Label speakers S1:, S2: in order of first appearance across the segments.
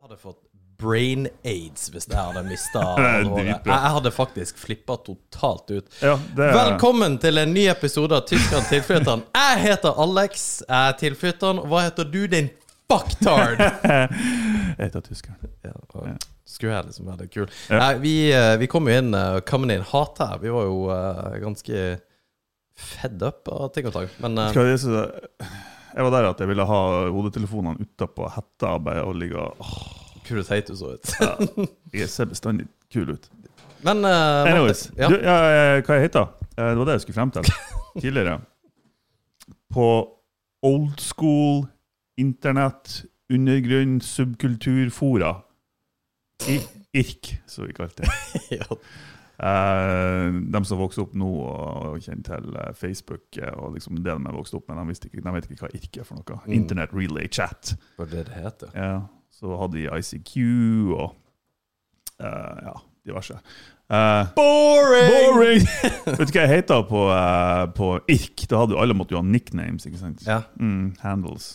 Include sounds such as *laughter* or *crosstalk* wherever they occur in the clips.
S1: hadde fått brain aids hvis jeg hadde
S2: *laughs*
S1: mista
S2: er
S1: håret.
S2: dritbra.
S1: Jeg hadde faktisk flippa totalt ut.
S2: Ja, det er- *laughs*
S1: Velkommen til en ny episode av Tyskland tilflytteren. Jeg heter Alex, jeg er tilflytteren. Hva heter du, din
S2: *laughs*
S1: fucktard?
S2: Jeg heter tyskeren.
S1: Ja, og Skulle jeg liksom være litt kul.
S2: Ja.
S1: Nei, vi, eh, vi kom jo inn eh, coming in hot her. Vi var jo eh, ganske fed up av ting og tang. Men eh,
S2: Skal jeg, si det? jeg var der at jeg ville ha hodetelefonene utapå hetta bare og ligge og åh,
S1: hvor teit du så ut.
S2: Jeg ser bestandig kul ut.
S1: Men eh, Marte-
S2: Anyways,
S1: ja.
S2: du, ja, eh, hva jeg heter Eh, Det var det jeg skulle frem til tidligere. På old school, internett, undergrunn, subkulturfora. I- IRK, som vi kalte det.
S1: ja, *laughs*
S2: Eh, de som vokser opp nå og og kjenner til eh, Facebook eh, og liksom det de har vokst opp med, de, visste ikke, de vet ikke hva IRK er for noe.
S1: Mm.
S2: Internet Relay Chat.
S1: Hva er det det heter?
S2: Ja, så hadde de ICQ og eh, ja, diverse. Eh,
S1: Boring!
S2: boring! *laughs* Vet du hva jeg heter på, eh, på IRK? Da hadde jo alle måtte jo ha nicknames, ikke sant?
S1: Ja.
S2: Mm, handles.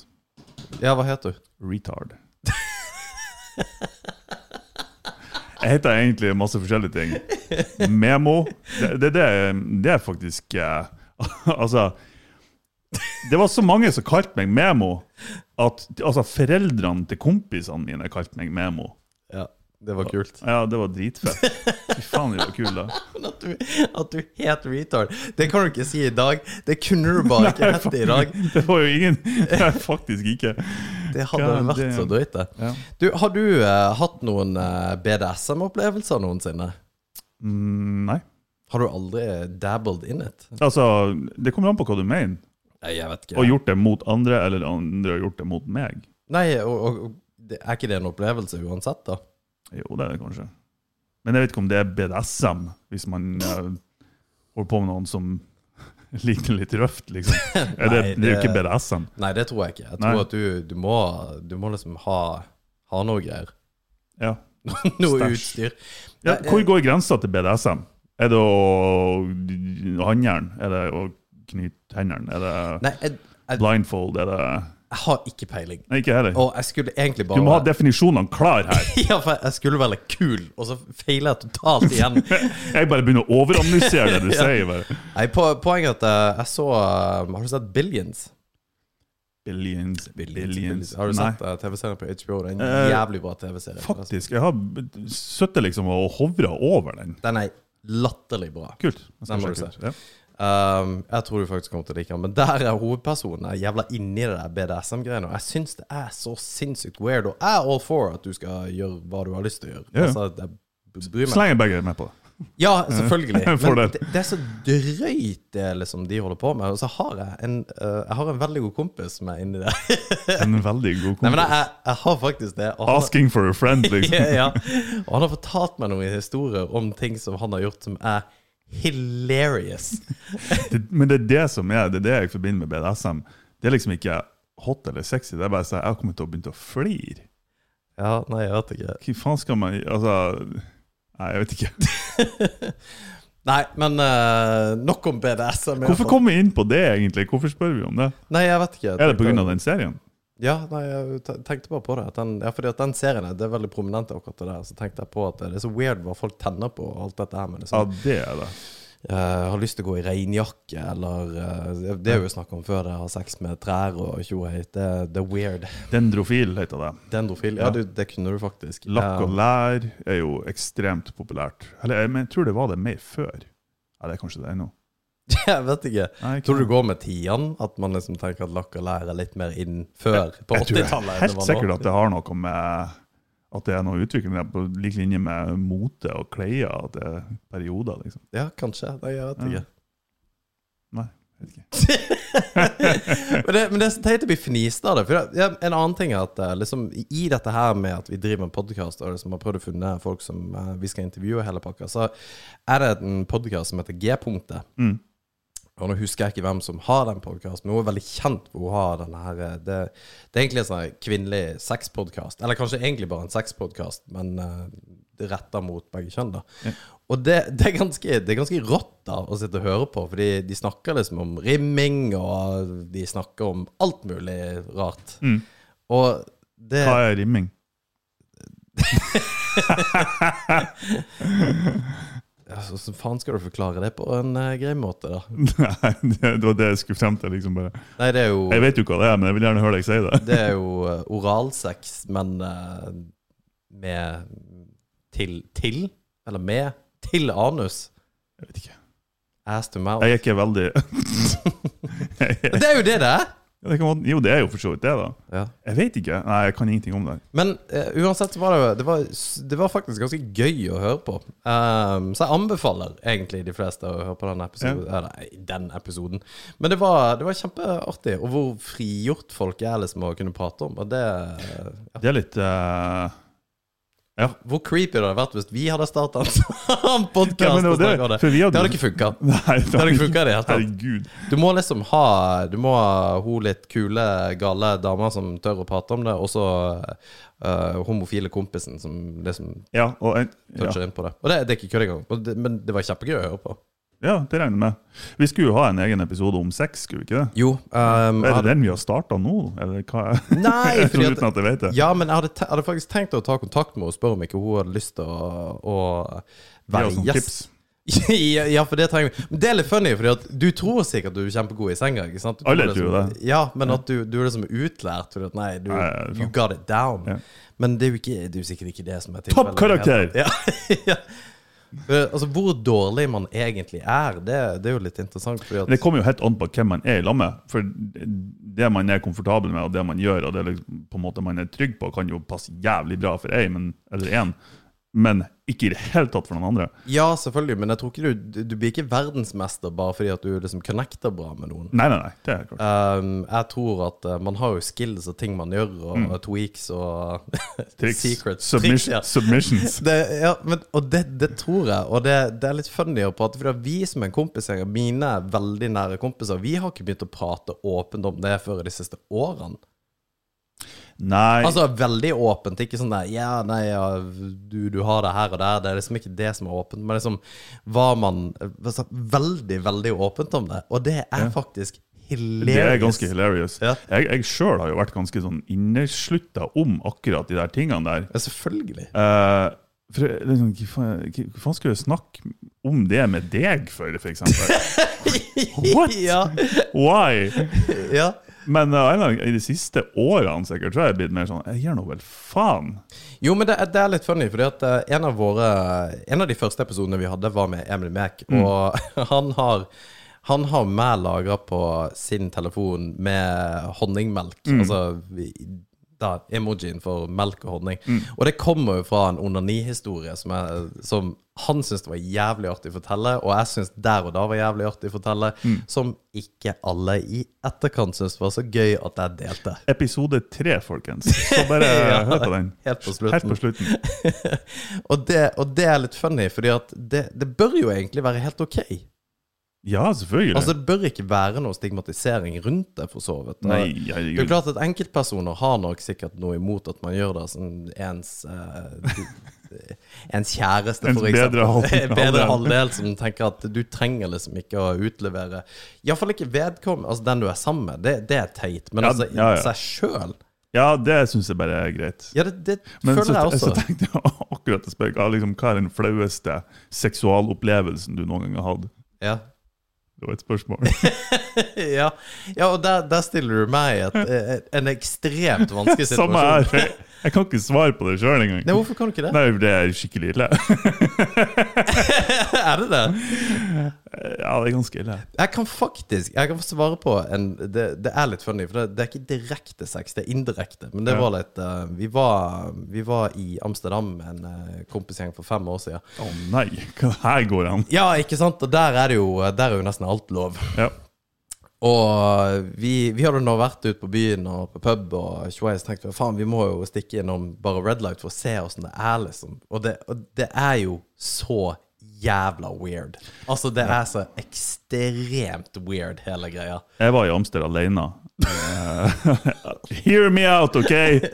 S1: ja, hva heter du?
S2: Retard. Jeg heter egentlig masse forskjellige ting. Memo. Det, det, det, det er faktisk eh, *laughs* Altså Det var så mange som kalte meg Memo, at altså, foreldrene til kompisene mine kalte meg Memo. *laughs*
S1: Ja, det var kult.
S2: Ja, det var dritfett. Fy faen, det var kul, da.
S1: Men at du, at du het retard, det kan du ikke si i dag. Det kunne du bare ikke hett i dag.
S2: *laughs* Det var jo ingen Det er faktisk ikke.
S1: Det hadde
S2: God
S1: vært så
S2: damn.
S1: drøyt, det.
S2: Ja.
S1: Du, har du eh, hatt noen eh, BDSM-opplevelser noensinne?
S2: Mm, nei.
S1: Har du aldri eh, dabbled in it?
S2: Altså, det kommer an på hva du mener.
S1: Nei, jeg vet ikke.
S2: Og gjort det mot andre, eller andre har gjort det mot meg.
S1: Nei, og, og, og det, er ikke det en opplevelse uansett, da?
S2: Jo, det er det kanskje. Men jeg vet ikke om det er BDSM, hvis man eh, holder på med noen som *laughs* liker det litt røft,
S1: *laughs*
S2: liksom. Er det, det er jo
S1: det-
S2: ikke BDSM.
S1: Nei, det tror jeg ikke. Jeg
S2: Nei.
S1: tror at du, du, må, du må liksom ha, ha noe greier. *laughs*
S2: Ja.
S1: Noe
S2: Stæsj.
S1: utstyr.
S2: Ja,
S1: Nei,
S2: hvor
S1: eh,
S2: går grensa til BDSM? Er det å håndjern? Er det å knyte hendene? Er det
S1: Nei, jeg, jeg,
S2: blindfold? Er det
S1: jeg har ikke peiling.
S2: Nei, ikke heller.
S1: Og jeg skulle egentlig bare
S2: Du må ha definisjonene klar her.
S1: *laughs* Ja, for jeg skulle være litt kul, og så feiler jeg totalt
S2: *laughs*
S1: igjen.
S2: Jeg bare begynner å overanalysere det
S1: *laughs*
S2: du sier. bare.
S1: Nei, po Poenget er at eh, jeg så eh, Har du sett Billions?
S2: Billions, billions.
S1: Har du
S2: Nei.
S1: sett eh, TV-serien på HBO? Det er en
S2: Eh,
S1: jævlig bra TV-serie. Altså,
S2: Faktisk. Jeg har sittet liksom og hovra over den.
S1: Den er latterlig bra.
S2: Kult.
S1: Den
S2: Jeg skal
S1: må du
S2: sjekke
S1: se.
S2: ut. Ja.
S1: Um, jeg tror du faktisk kommer til å like den, men der er hovedpersonen er jævla inni det der BDSM-greiene. Og jeg syns det er så sinnssykt weird, og jeg er all for at du skal gjøre hva du har lyst til å gjøre.
S2: Ja, ja.
S1: Altså, jeg bryr meg
S2: Slenger begge med på det.
S1: Ja, selvfølgelig.
S2: *laughs*
S1: Men
S2: Fordel.
S1: det, det er så drøyt, det liksom de holder på med. Og så har jeg en, eh, jeg har en veldig god kompis som er inni det.
S2: En veldig god
S1: Nei, men
S2: kompis.
S1: jeg, jeg, jeg har faktisk det. Og han,
S2: Asking for a
S1: *laughs*
S2: friend, liksom.
S1: ja, og han har fortalt meg noen historier om ting som han har gjort som er hilarious.
S2: Det, men det er det som er Det er det jeg forbinder med BDSM. Det er liksom ikke hot eller sexy. Det er bare sånn Jeg har kommet til å begynne å flire.
S1: Ja, nei, jeg vet ikke.
S2: Hva faen skal man Altså Nei, jeg vet
S1: *laughs*
S2: ikke.
S1: Nei, men eh, nok om BDSM. i hvert
S2: Hvorfor
S1: fall.
S2: kom vi inn på det, egentlig? Hvorfor spør vi om det?
S1: Nei, jeg vet ikke.
S2: Er det pga. den serien?
S1: Ja, nei, jeg te- tenkte bare på det. At den, ja, fordi at den serien er- det er veldig prominent akkurat det der. Så tenkte jeg på at det er så weird hva folk tenner på og alt dette her. Men liksom,
S2: Ja, det er det.
S1: eh, har lyst til å gå i regnjakke, eller eh, Det er jo snakk om før det har sex med trær og tjo og hei. Det, det er weird.
S2: Dendrofil heter det.
S1: Dendrofil. Ja,
S2: Ja.
S1: du, det kunne du faktisk.
S2: Lakk og
S1: Eh,
S2: lær er jo ekstremt populært. Eller jeg men- tror det var det mer før. Ja, det er kanskje det ennå.
S1: *laughs* jeg vet ikke.
S2: Nei, ikke
S1: Tror du
S2: nå.
S1: det går med tidene? At man liksom tenker at lakk og lær er litt mer inn før? På
S2: Jeg tror jeg
S1: 80-tallet? enn det
S2: helt
S1: var nå?
S2: sikkert at det har noe med at det er noe utvikling der, på lik linje med mote og klær. At det er perioder, liksom.
S1: Ja, kanskje. Nei, jeg vet
S2: Ja.
S1: ikke.
S2: Jeg vet ikke.
S1: *laughs* men, det, men det er så teit å bli fnist av det. For det, ja, en annen ting er at eh, liksom, i- i dette her med at vi driver med podkast, og liksom har prøvd å finne folk som eh, vi skal intervjue, hele pakka, så er det en podkast som heter G-punktet.
S2: Mm.
S1: Og nå husker jeg ikke hvem som har den podkasten, men hun er veldig kjent for hun har denne her eh, Det, det er egentlig en sånn kvinnelig sexpodkast, eller kanskje egentlig bare en sexpodkast, men eh, det retta mot begge kjønn, da. Og det, det, er ganske, det er ganske rått da å sitte og høre på, fordi de snakker liksom om rimming, og de snakker om alt mulig rart. Og det
S2: Hva er rimming? *laughs*
S1: Altså, så faen skal du forklare det på en eh, grei måte, da?
S2: Nei, det det var det jeg skulle frem til. liksom bare.
S1: Nei, det er jo,
S2: Jeg vet jo hva det er, men jeg vil gjerne høre deg si det. *laughs*
S1: det er jo eh, oralsex, men eh, med til, til? Eller med til anus.
S2: Jeg vet ikke.
S1: Ass to mouth.
S2: Jeg er ikke veldig *laughs*
S1: Men Det er jo det det er!
S2: Ja, det kan, jo, det er jo for så vidt det, da.
S1: Ja.
S2: Jeg vet ikke. Nei, jeg kan ingenting om det.
S1: Men eh, uansett så var det, jo- det, var, s- det var faktisk ganske gøy å høre på. Ehm, så jeg anbefaler egentlig de fleste å høre på den episoden. Eller, den episoden. Men det var, det var kjempeartig, og hvor frigjort folk er liksom å kunne prate om. Og det ja.
S2: Det er litt eh,
S1: Hvor creepy det hadde vært hvis vi hadde starta en *laughs*
S2: Nei, men
S1: podkast
S2: det
S1: og
S2: var
S1: snakka om det.
S2: For vi hadde,
S1: Det hadde ikke funka.
S2: *laughs* Nei,
S1: Det hadde ikke funka i det hele tatt.
S2: Herregud.
S1: Du må liksom ha Du må ha hun litt kule, gale dama som tør å prate om det, og så eh, homofile kompisen som liksom
S2: Ja, og en, ja.
S1: toucher inn på det. Og det, det er ikke kødd engang. Og det- Men det var kjempegøy å høre på.
S2: ja, det regner jeg med. Vi skulle jo ha en egen episode om sex, skulle vi ikke det?
S1: Jo. ehm,
S2: Er det den vi har starta nå, eller hva?
S1: Nei,
S2: *laughs* Jeg tror
S1: fordi
S2: uten
S1: at
S2: at jeg vet det.
S1: ja, men jeg hadde, te- jeg hadde faktisk tenkt å ta kontakt med henne og spørre om ikke hun hadde lyst til å, å
S2: Vi har
S1: være
S2: sånn tips.
S1: gjest. *laughs* ja, ja, for det trenger vi. Men det er litt funny, fordi at du tror sikkert du er kjempegod i senga. ikke sant? Du
S2: Alle
S1: liksom,
S2: tror det.
S1: Ja, men at du, du er liksom utlært. Fordi at nei, du
S2: Nei, det er
S1: you
S2: sant.
S1: got it down.
S2: Ja.
S1: Men det er jo ikke, det er jo sikkert ikke det som er tilfellet.
S2: Toppkarakter!
S1: Ja, *laughs* ja. Eh, Altså, hvor dårlig man egentlig er, det, det er jo litt interessant. Fordi at
S2: Det kommer jo helt an på hvem man er i lag med. For det man er komfortabel med, og det man gjør, og det liksom, på en måte man er trygg på, kan jo passe jævlig bra for ei, men, eller én, men ikke i det hele tatt for noen andre.
S1: Ja, selvfølgelig, men jeg tror ikke du, du blir ikke verdensmester bare fordi at du liksom connecter bra med noen.
S2: Nei, nei, nei. Det er klart.
S1: Um, jeg tror at uh, man har jo skills og ting man gjør, og
S2: Mm.
S1: tweaks og
S2: Triks.
S1: secrets. Triks,
S2: Submission,
S1: ja. *laughs*
S2: Submissions.
S1: Det, ja, men, og det, det tror jeg, og det, det er litt funny å prate, for vi som er kompiser, mine veldig nære kompiser, vi har ikke begynt å prate åpent om det før de siste årene.
S2: Nei.
S1: Altså veldig åpent, ikke sånn der Ja, nei, ja, du, du har det her og der. Det er liksom ikke det som er åpent, men liksom var man altså, veldig, veldig åpent om det. Og det er faktisk hilarious.
S2: Det er ganske hilarious.
S1: Ja.
S2: Jeg, jeg sjøl har jo vært ganske sånn inneslutta om akkurat de der tingene der.
S1: Ja, selvfølgelig.
S2: Eh, for jeg- liksom, hva faen- Hva faen skulle jeg snakke om det med deg for, for eksempel?
S1: *laughs*
S2: What?
S1: Ja,
S2: Why?
S1: ja.
S2: Men eh, en gang i de siste årene sikkert, tror jeg jeg er blitt mer sånn Jeg gir nå vel faen.
S1: Jo, men det, er- det er litt funny, fordi at eh, en av våre En av de første episodene vi hadde, var med Emily Mack, og *laughs* han har han har meg lagra på sin telefon med honningmelk. Altså vi- da, emojien for melk og honning. Og det kommer jo fra en onanihistorie som, jeg- som han syntes det var jævlig artig å fortelle, og jeg syntes der og da var jævlig artig å fortelle, som ikke alle i etterkant syntes var så gøy at jeg delte.
S2: Episode tre, folkens. Så
S1: *laughs*
S2: bare hør på den.
S1: Helt på slutten.
S2: Helt på slutten.
S1: og, det, og det er litt funny, fordi at det, det bør jo egentlig være helt ok.
S2: Ja, selvfølgelig.
S1: Altså, det bør ikke være noe stigmatisering rundt det, for så vidt. Det
S2: Nei,
S1: er jo
S2: herregud.
S1: klart at enkeltpersoner har nok sikkert noe imot at man gjør det som ens eh, *laughs* Ens kjæreste,
S2: Ens
S1: for eksempel.
S2: bedre halvdel.
S1: *laughs* bedre halvdel som tenker at du trenger liksom ikke å utlevere Iallfall ikke vedkommende, altså den du er sammen med. Det, det er teit. Men
S2: Ja,
S1: altså, i
S2: ja, ja.
S1: seg sjøl
S2: Ja, det syns jeg bare er greit.
S1: Ja, det, det
S2: Men
S1: føler
S2: så,
S1: jeg også.
S2: så tenkte jeg akkurat å spørre hva, liksom, hva er den flaueste seksualopplevelsen du noen gang har hatt?
S1: ja.
S2: Det var et spørsmål.
S1: ja. ja, og der, der stiller du meg i
S2: *laughs*
S1: et, et, en ekstremt vanskelig
S2: Samme
S1: situasjon.
S2: her. Jeg, jeg kan ikke svare på det sjøl engang.
S1: Nei, hvorfor kan du ikke det?
S2: Nei, for det er skikkelig ille.
S1: er det det?
S2: Ja, det er ganske ille.
S1: Jeg kan faktisk jeg kan svare på en Det, det er litt funny, for det, det er ikke direkte sex, det er indirekte. Men det
S2: Ja.
S1: var litt eh, vi, var, vi var i Amsterdam med en eh, kompisgjeng for fem år siden.
S2: Å nei, hva her går an?
S1: Ja, ikke sant? Og der er det jo, der er jo nesten alt lov.
S2: Ja.
S1: Og eh, vi, vi hadde nå vært ute på byen og på pub og tjoeis, tenkte vi faen, vi må jo stikke innom bare Red Light for å se åssen det er, liksom. Og det, og det er jo så jævla weird. Altså, det er så ekstremt weird, hele greia.
S2: Jeg var i Amster alene. Eh, Hear me out, OK?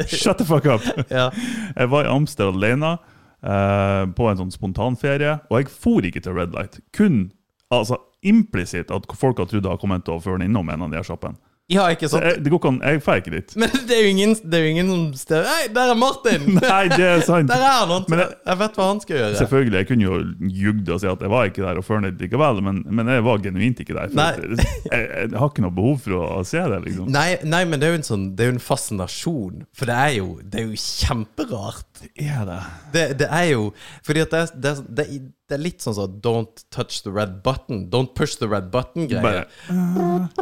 S2: Shut the fuck up!
S1: Ja.
S2: Jeg var i Amster alene eh, på en sånn spontanferie, og jeg for ikke til Red Light. Kun altså, implisitt at folk har trodd jeg har kommet til å føre den innom en av de her sjappene.
S1: Ja, ikke sant?
S2: Jeg, det går ikke an, jeg får ikke dit.
S1: Men det er jo ingen, det er jo ingen som stiller Hei, der er Martin!
S2: *laughs* Nei, det er sant.
S1: Der er han! han
S2: Men
S1: jeg,
S2: det-
S1: vet hva han skal gjøre.
S2: Selvfølgelig, jeg kunne jo ljugd og si at jeg var ikke der og følte det likevel, men, men jeg var genuint ikke der.
S1: Nei.
S2: For jeg, jeg, jeg har ikke noe behov for å se det, liksom.
S1: Nei, nei, men det er jo en sånn Det er jo en fascinasjon. For det er jo, det er jo kjemperart.
S2: Er det?
S1: Det, det er jo Fordi at det er, det, er, det, er, det er litt sånn sånn Don't touch the red button. Don't push the red button-greie.
S2: Bare,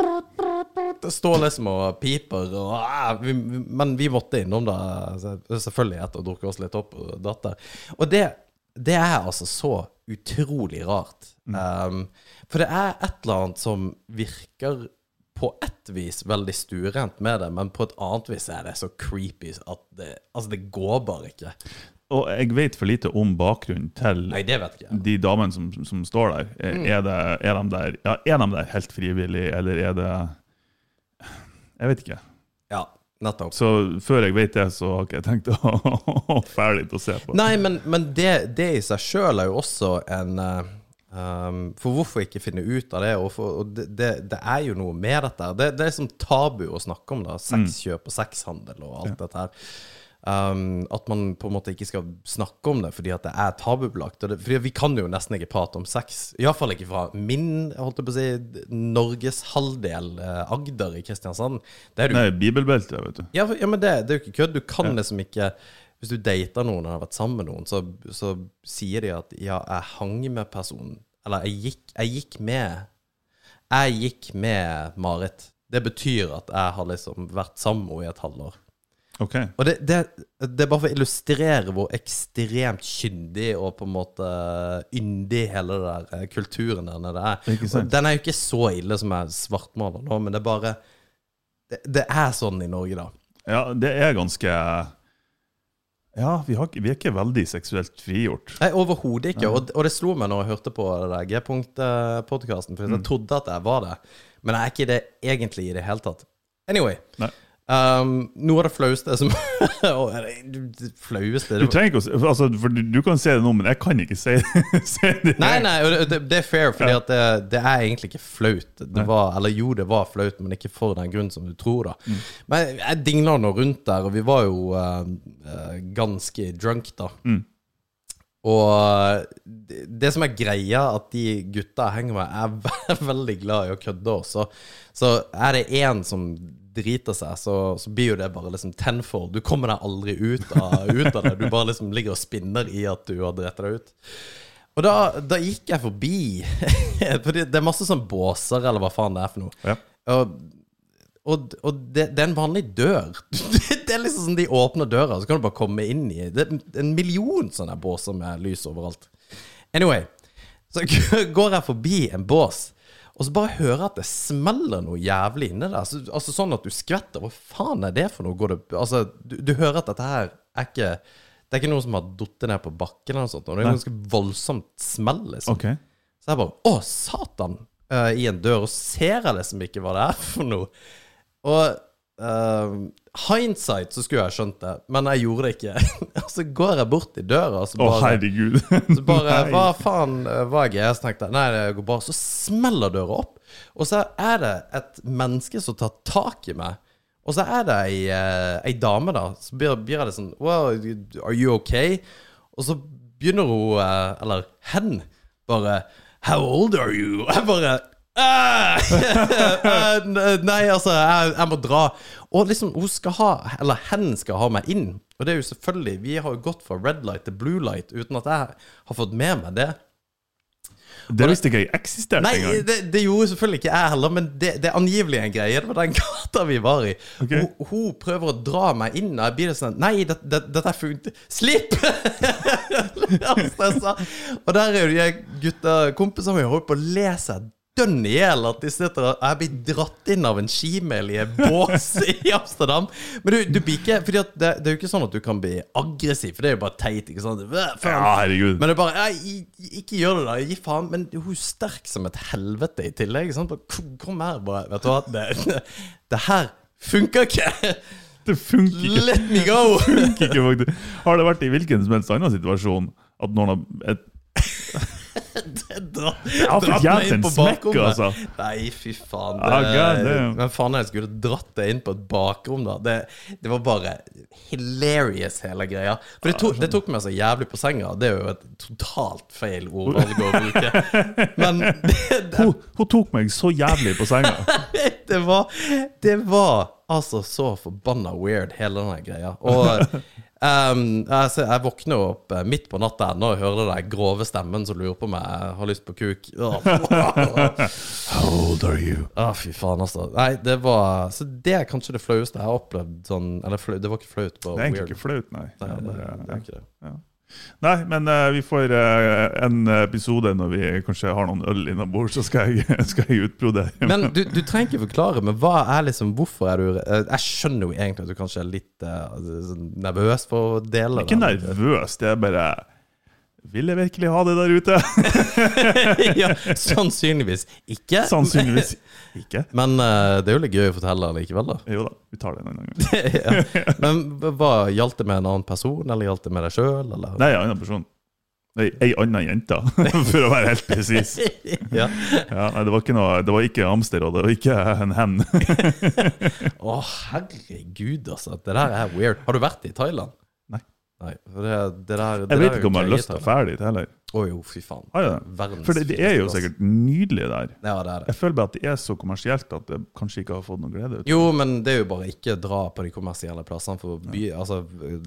S1: Det står liksom og piper og ah, vi, vi- Men vi måtte innom da, se- selvfølgelig, etter å ha drukket oss litt opp og datt der. Og det, det er altså så utrolig rart. Um, for det er et eller annet som virker på ett vis veldig stuerent med det, men på et annet vis er det så creepy at det Altså, det går bare ikke.
S2: og jeg vet for lite om bakgrunnen til
S1: Nei, det vet ikke jeg.
S2: de damene som, som, som står der. Er, er, det, er, de der ja, er de der helt frivillig, eller er det Jeg vet ikke.
S1: Ja, nettopp.
S2: Så før jeg vet det, så har ikke jeg tenkt å *laughs* ferdig til å se på.
S1: Nei, men, men det, det i seg sjøl er jo også en eh, ehm, For hvorfor ikke finne ut av det? Og, for, og det, det, det er jo noe med dette. her. Det, det er som tabu å snakke om. da Sexkjøp og sexhandel og alt dette her. Ehm, at man på en måte ikke skal snakke om det fordi at det er tabubelagt. og det- Fordi vi kan jo nesten ikke prate om sex. Iallfall ikke fra min holdt jeg på å si, Norges halvdel, eh, Agder i Kristiansand. Det er det jo
S2: Nei, bibelbelte, vet du.
S1: ja, for, ja men det, det er jo ikke kødd. Du kan liksom ikke Hvis du dater noen og har vært sammen med noen, så, så sier de at 'ja, jeg hang med personen', eller 'jeg gikk, jeg gikk med'. Jeg gikk med Marit. Det betyr at jeg har liksom vært sammen med henne i et halvår.
S2: Ok.
S1: Og det, det, det er bare for å illustrere hvor ekstremt kyndig og på en måte yndig hele den der eh, kulturen der nede er.
S2: Ikke sant?
S1: Og Den er jo ikke så ille som jeg svartmaler nå, men det er bare Det, det er sånn i Norge, da.
S2: Ja, det er ganske Ja, vi, har, ikke- vi er ikke veldig seksuelt frigjort.
S1: Nei, overhodet ikke. Og, og det slo meg når jeg hørte på det der G-punkt-podkasten,
S2: Mm.
S1: for jeg trodde at jeg var det, men jeg er ikke det egentlig i det hele tatt. Anyway.
S2: Nei.
S1: Um, noe av det flaueste som *laughs* Å, er det- det Flaueste
S2: Du
S1: det var-
S2: trenger ikke å se altså, for du, du kan se det nå, men jeg kan ikke se, *laughs* se det. *laughs*
S1: Nei, nei, og det, det er fair, fordi at det, det er egentlig ikke flaut. Det var, eller jo, det var flaut, men ikke for den grunn som du tror, da. Men jeg dingla nå rundt der, og vi var jo eh, eh, ganske drunk, da. Og eh, det, det som er greia, at de gutta jeg henger med, er *laughs* ve- veldig glad i å kødde også. Så er det én som driter seg, så, så blir jo det bare liksom tenfold. Du kommer deg aldri ut av, ut av det. Du bare liksom ligger og spinner i at du har drept deg ut. Og da, da gikk jeg forbi, *laughs* for det er masse sånn båser, eller hva faen det er for noe.
S2: Ja.
S1: Og, og, og det, det er en vanlig dør. *laughs* Det er liksom sånn De åpner døra, så kan du bare komme inn i Det er en million sånne båser med lys overalt. Anyway, så *laughs* går jeg forbi en bås, og så bare hører jeg at det smeller noe jævlig inni der. Så, altså Sånn at du skvetter. Hva faen er det for noe? Går det, altså, du, du hører at dette her er ikke Det er ikke noe som har falt ned på bakken, eller noe sånt. Og det er
S2: Nei.
S1: et ganske voldsomt smell. liksom
S2: Ok.
S1: så jeg bare Å, satan! eh, I en dør. Og ser jeg liksom ikke hva det er for noe. Og eh, hindsight så skulle jeg skjønt det, men jeg gjorde det ikke. *laughs* og så går jeg bort til døra, og så
S2: Å,
S1: bare,
S2: herregud.
S1: *laughs* så bare
S2: *laughs* Nei.
S1: Hva faen eh, hva er greia? Så tenkte jeg nei, det går bra. Så smeller døra opp, og så er det et menneske som tar tak i meg. Og så er det ei, eh, ei dame, da. Så blir, blir jeg litt sånn Well, are you okay? Og så begynner hun, eh, eller hen, bare How old are you? *laughs* Og jeg bare «Ah!» *laughs* Eh, Nei, altså, jeg, jeg må dra. Og liksom, hun skal ha, eller hen skal ha meg inn. Og det er jo selvfølgelig Vi har jo gått fra red light til blue light uten at jeg har fått med meg det.
S2: Det visste ikke jeg eksisterte
S1: Nei,
S2: engang.
S1: det, det gjorde selvfølgelig ikke jeg heller, men det, det er angivelig en greie. Det var den *laughs* gata vi var i. Hun, hun prøver å dra meg inn, og jeg blir sånn Nei, det- det- dette er funnet Slipp! *laughs* Jeg stressa. og der er jo de gutta, kompisene mine, holder på å le seg dønn i hjel at de sitter og Jeg blir dratt inn av en skimel i en bås *laughs* i Amsterdam. Men du, du blir ikke Fordi at det, det er jo ikke sånn at du kan bli aggressiv, for det er jo bare teit, ikke sant? Øh,
S2: Ja,
S1: faen,
S2: herregud.
S1: men det er bare Nei, i- ikke gjør det, da. Gi faen. Men hun er sterk som et helvete i tillegg. Sant? Bare, kom- kom her, bare. Vet du hva, det, *laughs* det her funker ikke!
S2: Det funker ikke.
S1: Let me go!
S2: *laughs* funker ikke, faktisk. Har det vært i hvilken som helst annen situasjon at noen har et,
S1: dra,
S2: har
S1: dratt
S2: fått
S1: meg
S2: jævlig
S1: inn
S2: en
S1: på
S2: smekk,
S1: bakrommet.
S2: altså.
S1: Nei, fy faen.
S2: Ah, god
S1: Det,
S2: damn.
S1: men faen, jeg skulle dratt det inn på et bakrom, da. Det, det var bare hilarious, hele greia. For det, tok- det tok meg så jævlig på senga. Det er jo et totalt feil
S2: *laughs*
S1: ordvalg å bruke. Men *laughs* det, det,
S2: Hun, hun tok meg så jævlig på senga.
S1: det var Det var altså så forbanna weird, hele den greia. Og ehm, altså, jeg våkner jo opp eh, midt på natta ennå og hører den grove stemmen som lurer på om jeg har lyst på kuk.
S2: *laughs*
S1: Åh,
S2: How old are you?
S1: Ah, fy faen, altså. Nei, det var Så det er kanskje det flaueste jeg har opplevd sånn Eller flau, det var ikke flaut.
S2: Det er egentlig ikke flaut, nei. Ja,
S1: Nei, det,
S2: bare-
S1: det er ikke det.
S2: Nei, men eh, vi får eh, en episode når vi kanskje har noen øl innabords, så skal jeg, *laughs* skal jeg utbrodere.
S1: Men du, du trenger ikke forklare, men hva er liksom Hvorfor er du eh, Jeg skjønner jo egentlig at du kanskje er litt eh, altså, sånn nervøs for å dele
S2: Ikke nervøs, det er bare Vil jeg virkelig ha det der ute? *laughs*
S1: *laughs* ja, sannsynligvis ikke.
S2: Sannsynligvis ikke.
S1: Men eh, det er jo litt gøy å fortelle likevel,
S2: *laughs*
S1: da.
S2: Jo da, vi tar det en annen gang.
S1: ja. Men hva gjaldt det med en annen person, eller gjaldt det med deg sjøl, eller?
S2: Nei, en annen person. Nei, ei anna jente, *laughs* for å være helt presis.
S1: *laughs* ja.
S2: Ja, nei, det var ikke noe, det var ikke hamster, og det var ikke en hen.
S1: Å, herregud, altså. Det der er weird. Har du vært i Thailand?
S2: Nei.
S1: Nei, for det, det der, det
S2: Jeg
S1: der
S2: vet
S1: er
S2: ikke om jeg
S1: jo
S2: har lyst til
S1: greie
S2: å
S1: i Thailand.
S2: fære dit heller.
S1: Å jo, fy faen.
S2: Har jeg det?
S1: Verdens
S2: For det, det er jo
S1: fineste plass.
S2: sikkert nydelig der.
S1: Ja, det er det.
S2: Jeg føler bare at det er så kommersielt at jeg kanskje ikke har fått noe glede ut.
S1: Jo, men det er jo bare ikke dra på de kommersielle plassene, for by, altså,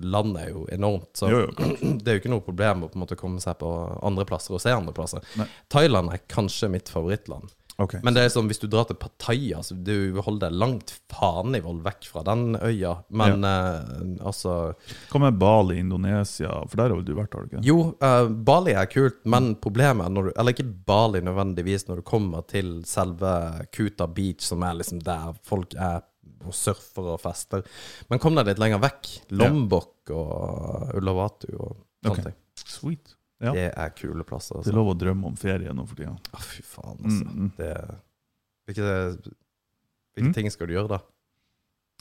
S1: landet er jo enormt. Så
S2: Jo, jo,
S1: *clears throat* det er jo ikke noe problem å på en måte komme seg på andre plasser og se andre plasser. Thailand er kanskje mitt favorittland.
S2: Ok.
S1: Men det er sånn, hvis du drar til Pattaya, så du holder deg langt fanivold vekk fra den øya. Men eh, altså
S2: Hva med Bali, Indonesia? For der har vel du vært, har du ikke?
S1: Jo, eh, Bali er kult, men problemet er når du Eller ikke Bali nødvendigvis, når du kommer til selve Kuta Beach, som er liksom der folk er og surfer og fester. Men kom deg litt lenger vekk. Lombok og Ulawatu og sånne
S2: Ok.
S1: ting.
S2: Sweet. Ja.
S1: Det er kule plasser.
S2: Det
S1: Altså.
S2: er lov å drømme om ferie nå for tida.
S1: Å, fy faen, altså.
S2: Mm, mm.
S1: Det, hvilke hvilke
S2: Mm.
S1: ting skal du gjøre, da?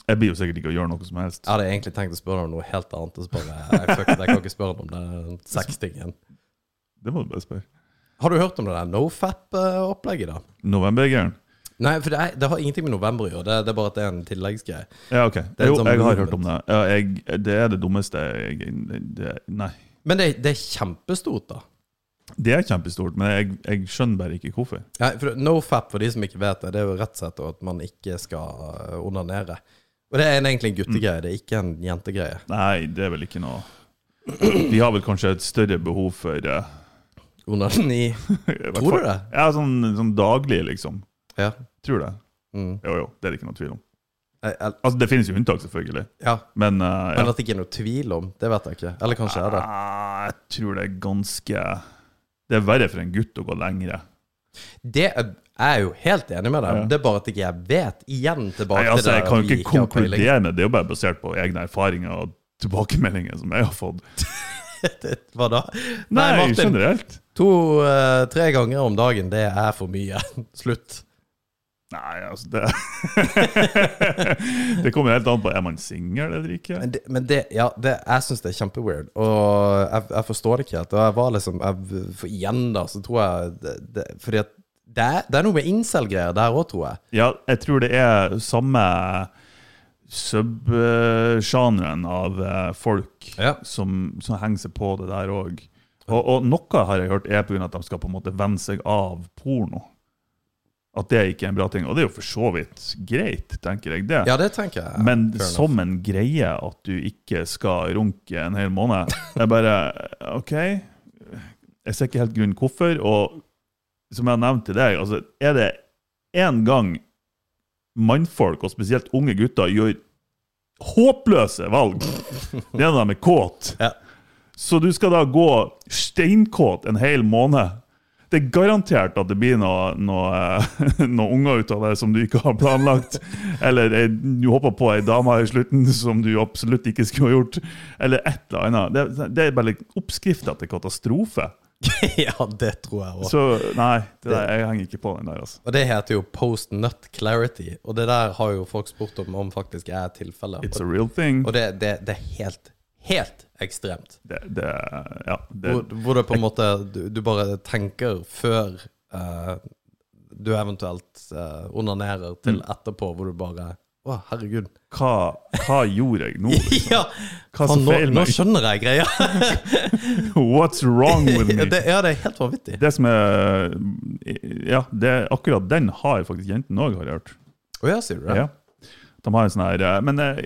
S2: Jeg blir jo sikkert ikke å gjøre noe som helst.
S1: Jeg hadde egentlig tenkt å spørre deg om noe helt annet. Og så bare, jeg, fuck, it, jeg kan ikke spørre deg om den sextingen.
S2: Det må du bare spørre.
S1: Har du hørt om det der nofap-opplegget, da?
S2: Novembergeren?
S1: Nei, for det, er, det har ingenting med november å gjøre. Det, det er bare at det er en tilleggsgreie.
S2: Ja, OK.
S1: er
S2: Jo,
S1: en sånn
S2: jeg har
S1: movement.
S2: hørt om det. Ja, jeg, det er det dummeste jeg det, Nei.
S1: Men det, det er kjempestort, da.
S2: Det er kjempestort, men jeg, jeg skjønner bare ikke hvorfor.
S1: Nei, for Nofap, for de som ikke vet det, det er jo rett og slett at man ikke skal øh, onanere. Og det er en- egentlig en guttegreie, det er ikke en jentegreie.
S2: Nei, det er vel ikke noe Vi har vel kanskje et større behov for eh, *laughs*
S1: Onani
S2: i hvert
S1: Tror du
S2: fall-
S1: det?
S2: Ja, sånn, sånn daglig, liksom.
S1: *laughs* Ja.
S2: Tror det.
S1: Mm.
S2: Jo, jo, det er det ikke noe tvil om.
S1: Eh, el-
S2: Altså, Det finnes jo unntak, selvfølgelig,
S1: ja.
S2: men eh, ja.
S1: Men at det ikke er noe tvil om, det vet jeg ikke. Eller kanskje er det.
S2: Ah, Jeg tror det er ganske Det er verre for en gutt å gå lengre.
S1: Det er jeg er jo helt enig med deg.
S2: Ja.
S1: Det er bare at ikke jeg vet. Igjen tilbake
S2: Nei, altså,
S1: til det
S2: jeg kan
S1: at
S2: jo
S1: vi
S2: ikke
S1: har peiling.
S2: konkludere med det. Det er jo bare basert på egne erfaringer og tilbakemeldinger som jeg har fått.
S1: Hva da? Nei,
S2: Nei,
S1: Martin.
S2: generelt.
S1: To-tre ganger om dagen, det er for mye. *laughs* Slutt.
S2: Nei, altså det *laughs* Det kommer helt an på er man singel eller ikke.
S1: Men det, men det ja, det, jeg syns det er kjempeweird, og jeg, jeg forstår det ikke helt. Og jeg var liksom jeg, For igjen, da, så tror jeg det, det, Fordi at det er, det er noe med incel-greier der òg, tror jeg.
S2: Ja, jeg tror det er samme subgenren av eh, folk
S1: Ja.
S2: som, som henger seg på det der òg. Og, og noe har jeg hørt er pga. at de skal på en måte venne seg av porno. At det ikke er en bra ting. Og det er jo for så vidt greit, tenker jeg det.
S1: Ja, det tenker jeg.
S2: Men
S1: Fair enough.
S2: som en greie at du ikke skal runke en hel måned. Det er bare OK. Jeg ser ikke helt grunnen hvorfor. Og som jeg nevnte til deg, altså, er det én gang mannfolk, og spesielt unge gutter, gjør håpløse valg, det er når de er kåt.
S1: Ja.
S2: Så du skal da gå steinkåt en hel måned. Det er garantert at det blir noe, noe, eh, *laughs* noe unger ut av det som du ikke har planlagt. Eller ei- du hopper på ei dame i slutten som du absolutt ikke skulle ha gjort. Eller et eller annet. Det, det er bare like oppskrifta til katastrofe.
S1: *laughs* ja, det tror jeg òg.
S2: Så nei, det der, jeg henger ikke på den der, altså.
S1: Og det heter jo post nut clarity, og det der har jo folk spurt om om faktisk er tilfellet.
S2: It's
S1: Og,
S2: a real thing.
S1: og det, det, det er helt, helt ekstremt.
S2: Det, det, ja, det,
S1: Hvor, hvor det på en måte du, du bare tenker før eh, du eventuelt eh, onanerer til
S2: Mm.
S1: etterpå, hvor du bare Å,
S2: *laughs*
S1: herregud.
S2: hva, hva gjorde jeg nå? *laughs*
S1: ja!
S2: Hva
S1: Faen,
S2: som
S1: nå,
S2: feiler
S1: nå
S2: meg?
S1: skjønner jeg
S2: *laughs*
S1: greia.
S2: What's wrong
S1: *laughs*
S2: with
S1: ja,
S2: me?
S1: det, ja, det er helt vanvittig.
S2: Det som er Ja, det, akkurat den har faktisk jentene òg, har jeg hørt.
S1: Å ja, sier du det?
S2: Ja. De har en sånn her eh, Men eh,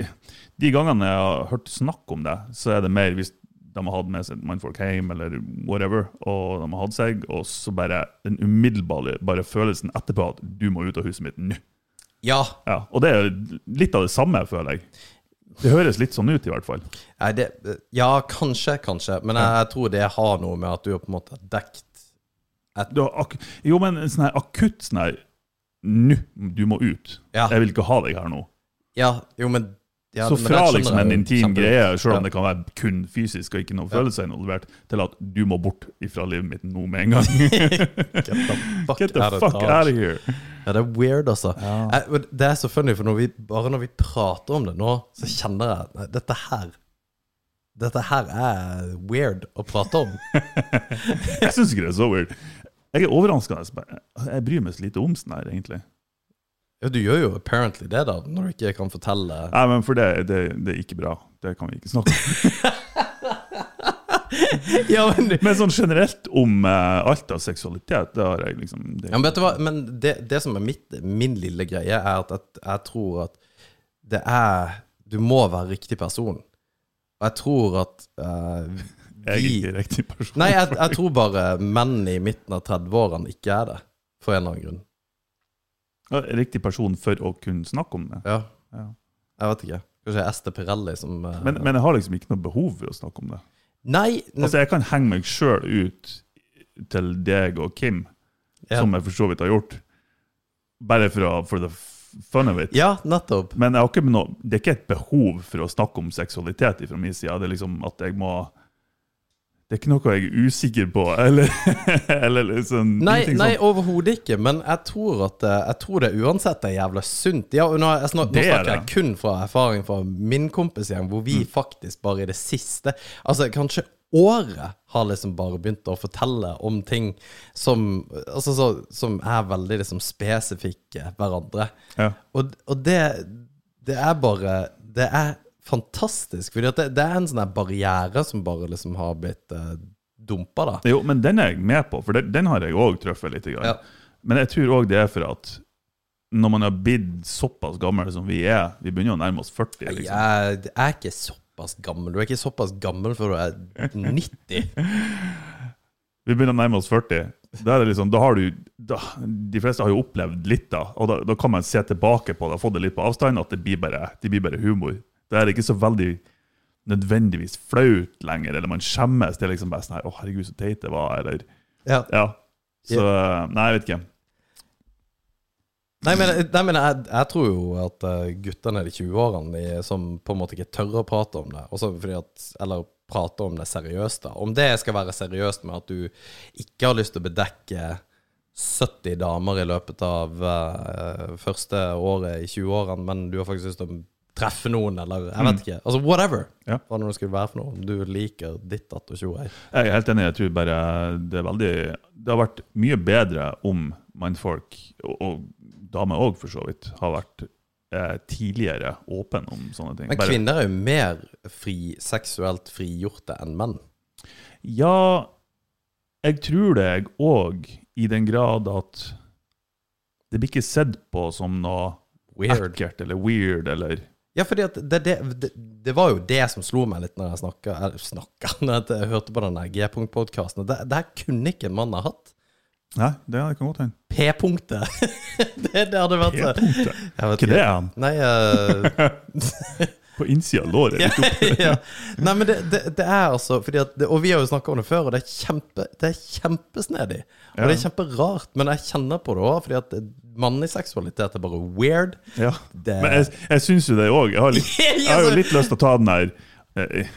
S2: de gangene jeg har hørt snakk om det, så er det mer hvis de har hatt med seg mannfolk hjem, eller whatever, og de har hatt seg, og så bare den umiddelbare bare følelsen etterpå at du må ut av huset mitt nå.
S1: Ja.
S2: Ja, og det er litt av det samme, føler jeg. Det høres litt sånn ut, i hvert fall.
S1: Nei, det, ja, kanskje, kanskje. Men jeg, jeg tror det har noe med at du har på en måte dekt
S2: Du har ak jo, men en sånn her akutt sånn her Nå, du må ut.
S1: Ja.
S2: Jeg vil ikke ha deg her nå.
S1: Ja, jo, men ja,
S2: så
S1: men jeg
S2: fra
S1: skjønner
S2: liksom en
S1: det jo
S2: intim
S1: kjempegodt.
S2: greie, selv
S1: Ja.
S2: om det kan være kun fysisk og ikke noen følelser involvert, til at du må bort ifra livet mitt nå med
S1: *laughs*
S2: en gang.
S1: Get the fuck,
S2: Get the
S1: out, of
S2: fuck
S1: Dodge.
S2: out of here!
S1: Ja, det er weird, altså.
S2: Ja.
S1: Jeg, men det er så funny, for når vi, bare når vi prater om det nå, så kjenner jeg nei, Dette her Dette her er weird å prate om. *laughs*
S2: Jeg syns ikke det er så weird. Jeg er overraskende. Jeg bryr meg så lite om sånn her, egentlig.
S1: Ja, du gjør jo apparently det, da, når du ikke kan fortelle *laughs*
S2: Nei, men for det, det, det er ikke bra. Det kan vi ikke snakke om.
S1: Ja, men, du-
S2: Men sånn generelt om eh, alt av seksualitet, det har jeg liksom det,
S1: ja, men vet du hva, men det, det som er mitt, min lille greie, er at jeg, jeg tror at det er Du må være riktig person. Og jeg tror at eh,
S2: Jeg er ikke riktig person.
S1: Nei, jeg, jeg tror bare menn i midten av 30-årene ikke er det. For en eller annen grunn.
S2: Ja, Riktig person for å kunne snakke om det.
S1: Ja.
S2: Ja.
S1: Jeg vet ikke. Kanskje Ester Pirelli som eh,
S2: Men, men jeg har liksom ikke noe behov for å snakke om det.
S1: Nei! ne-
S2: Altså, jeg kan henge meg sjøl ut til deg og Kim,
S1: Ja.
S2: som jeg for så vidt har gjort, bare for, å, for the fun of it.
S1: Ja, nettopp.
S2: Men jeg har ikke noe, det er ikke et behov for å snakke om seksualitet fra min side. Det er liksom at jeg må Det er ikke noe jeg er usikker på, *laughs* eller, eller liksom
S1: Nei,
S2: ingenting
S1: nei
S2: sånt.
S1: overhodet ikke. Men jeg tror, at, eh, jeg tror det uansett er jævla sunt. Ja, og nå, jeg snak, nå
S2: Det er
S1: snakker jeg
S2: det. Mm.
S1: kun fra erfaring fra min kompisgjeng, hvor vi faktisk bare i det siste Altså, kanskje året har liksom bare begynt å fortelle om ting som, altså, så, som er veldig liksom spesifikke hverandre.
S2: Ja.
S1: Og, og det, det er bare Det er fantastisk. Fordi at det, det er en sånn her barriere som bare liksom har blitt uh, dumpa, da.
S2: Jo, men den er jeg med på, for den, den har jeg òg truffet litt. Grann.
S1: Ja.
S2: Men jeg tror òg det er for at når man har blitt såpass gammel som vi er Vi begynner å nærme oss 40. liksom.
S1: Jeg, jeg er ikke såpass gammel. Du er ikke såpass gammel før du er 90.
S2: Vi begynner å nærme oss 40. Da er det liksom, da har du, da, de fleste har jo opplevd litt, da. Og da, da kan man se tilbake på det og få det litt på avstand, at det blir bare, det blir bare humor. Da er det ikke så veldig nødvendigvis flaut lenger, eller man skjemmes. Det er liksom bare sånn her Å, herregud, så teit det var, eller
S1: Ja.
S2: Ja. Så Nei, jeg vet ikke.
S1: Nei, men, nei, men jeg, jeg tror jo at eh, guttene i de 20-årene de som på en måte ikke tør å prate om det, også fordi at, eller prate om det seriøst, da. Om det skal være seriøst med at du ikke har lyst til å bedekke 70 damer i løpet av eh, første året i 20-årene, men du har faktisk lyst til å treffe noen, eller jeg vet ikke. Altså whatever.
S2: Mm. Ja.
S1: Hva nå det skulle være for noe. Om du liker ditt datt og tjo ei.
S2: Jeg er helt enig. Jeg tror bare det er veldig Det har vært mye bedre om mannfolk, og, og damer òg, for så vidt, har vært eh, tidligere åpen om sånne ting.
S1: Men
S2: Bare-
S1: kvinner er jo mer fri, seksuelt frigjorte enn menn.
S2: Ja, jeg tror det jeg òg, i den grad at det blir ikke sett på som noe
S1: Weird.
S2: ekkelt eller weird eller
S1: Ja, fordi at det, det, det, det var jo det som slo meg litt når jeg snakka eller snakka, *laughs* når jeg hørte på den der G-punkt-podkasten. Det, det her kunne ikke en mann ha hatt.
S2: Nei, det kan godt hende.
S1: P-punktet! *laughs* det, det hadde vært jeg *laughs*
S2: P-punktet.
S1: vet
S2: Ikke det er han?
S1: Nei, eh, *laughs*
S2: På innsida av låret. litt opp.
S1: ja. Nei, men det, det, det er altså fordi at det, Og vi har jo snakka om det før, og det er, kjempe, det er kjempesnedig. Og
S2: Ja.
S1: det er kjemperart, men jeg kjenner på det òg, fordi at mannlig seksualitet er bare weird.
S2: Ja.
S1: Det-
S2: Men jeg, jeg syns jo det òg. Jeg, har litt-
S1: *laughs*
S2: jeg har jo litt lyst til å ta den her eh,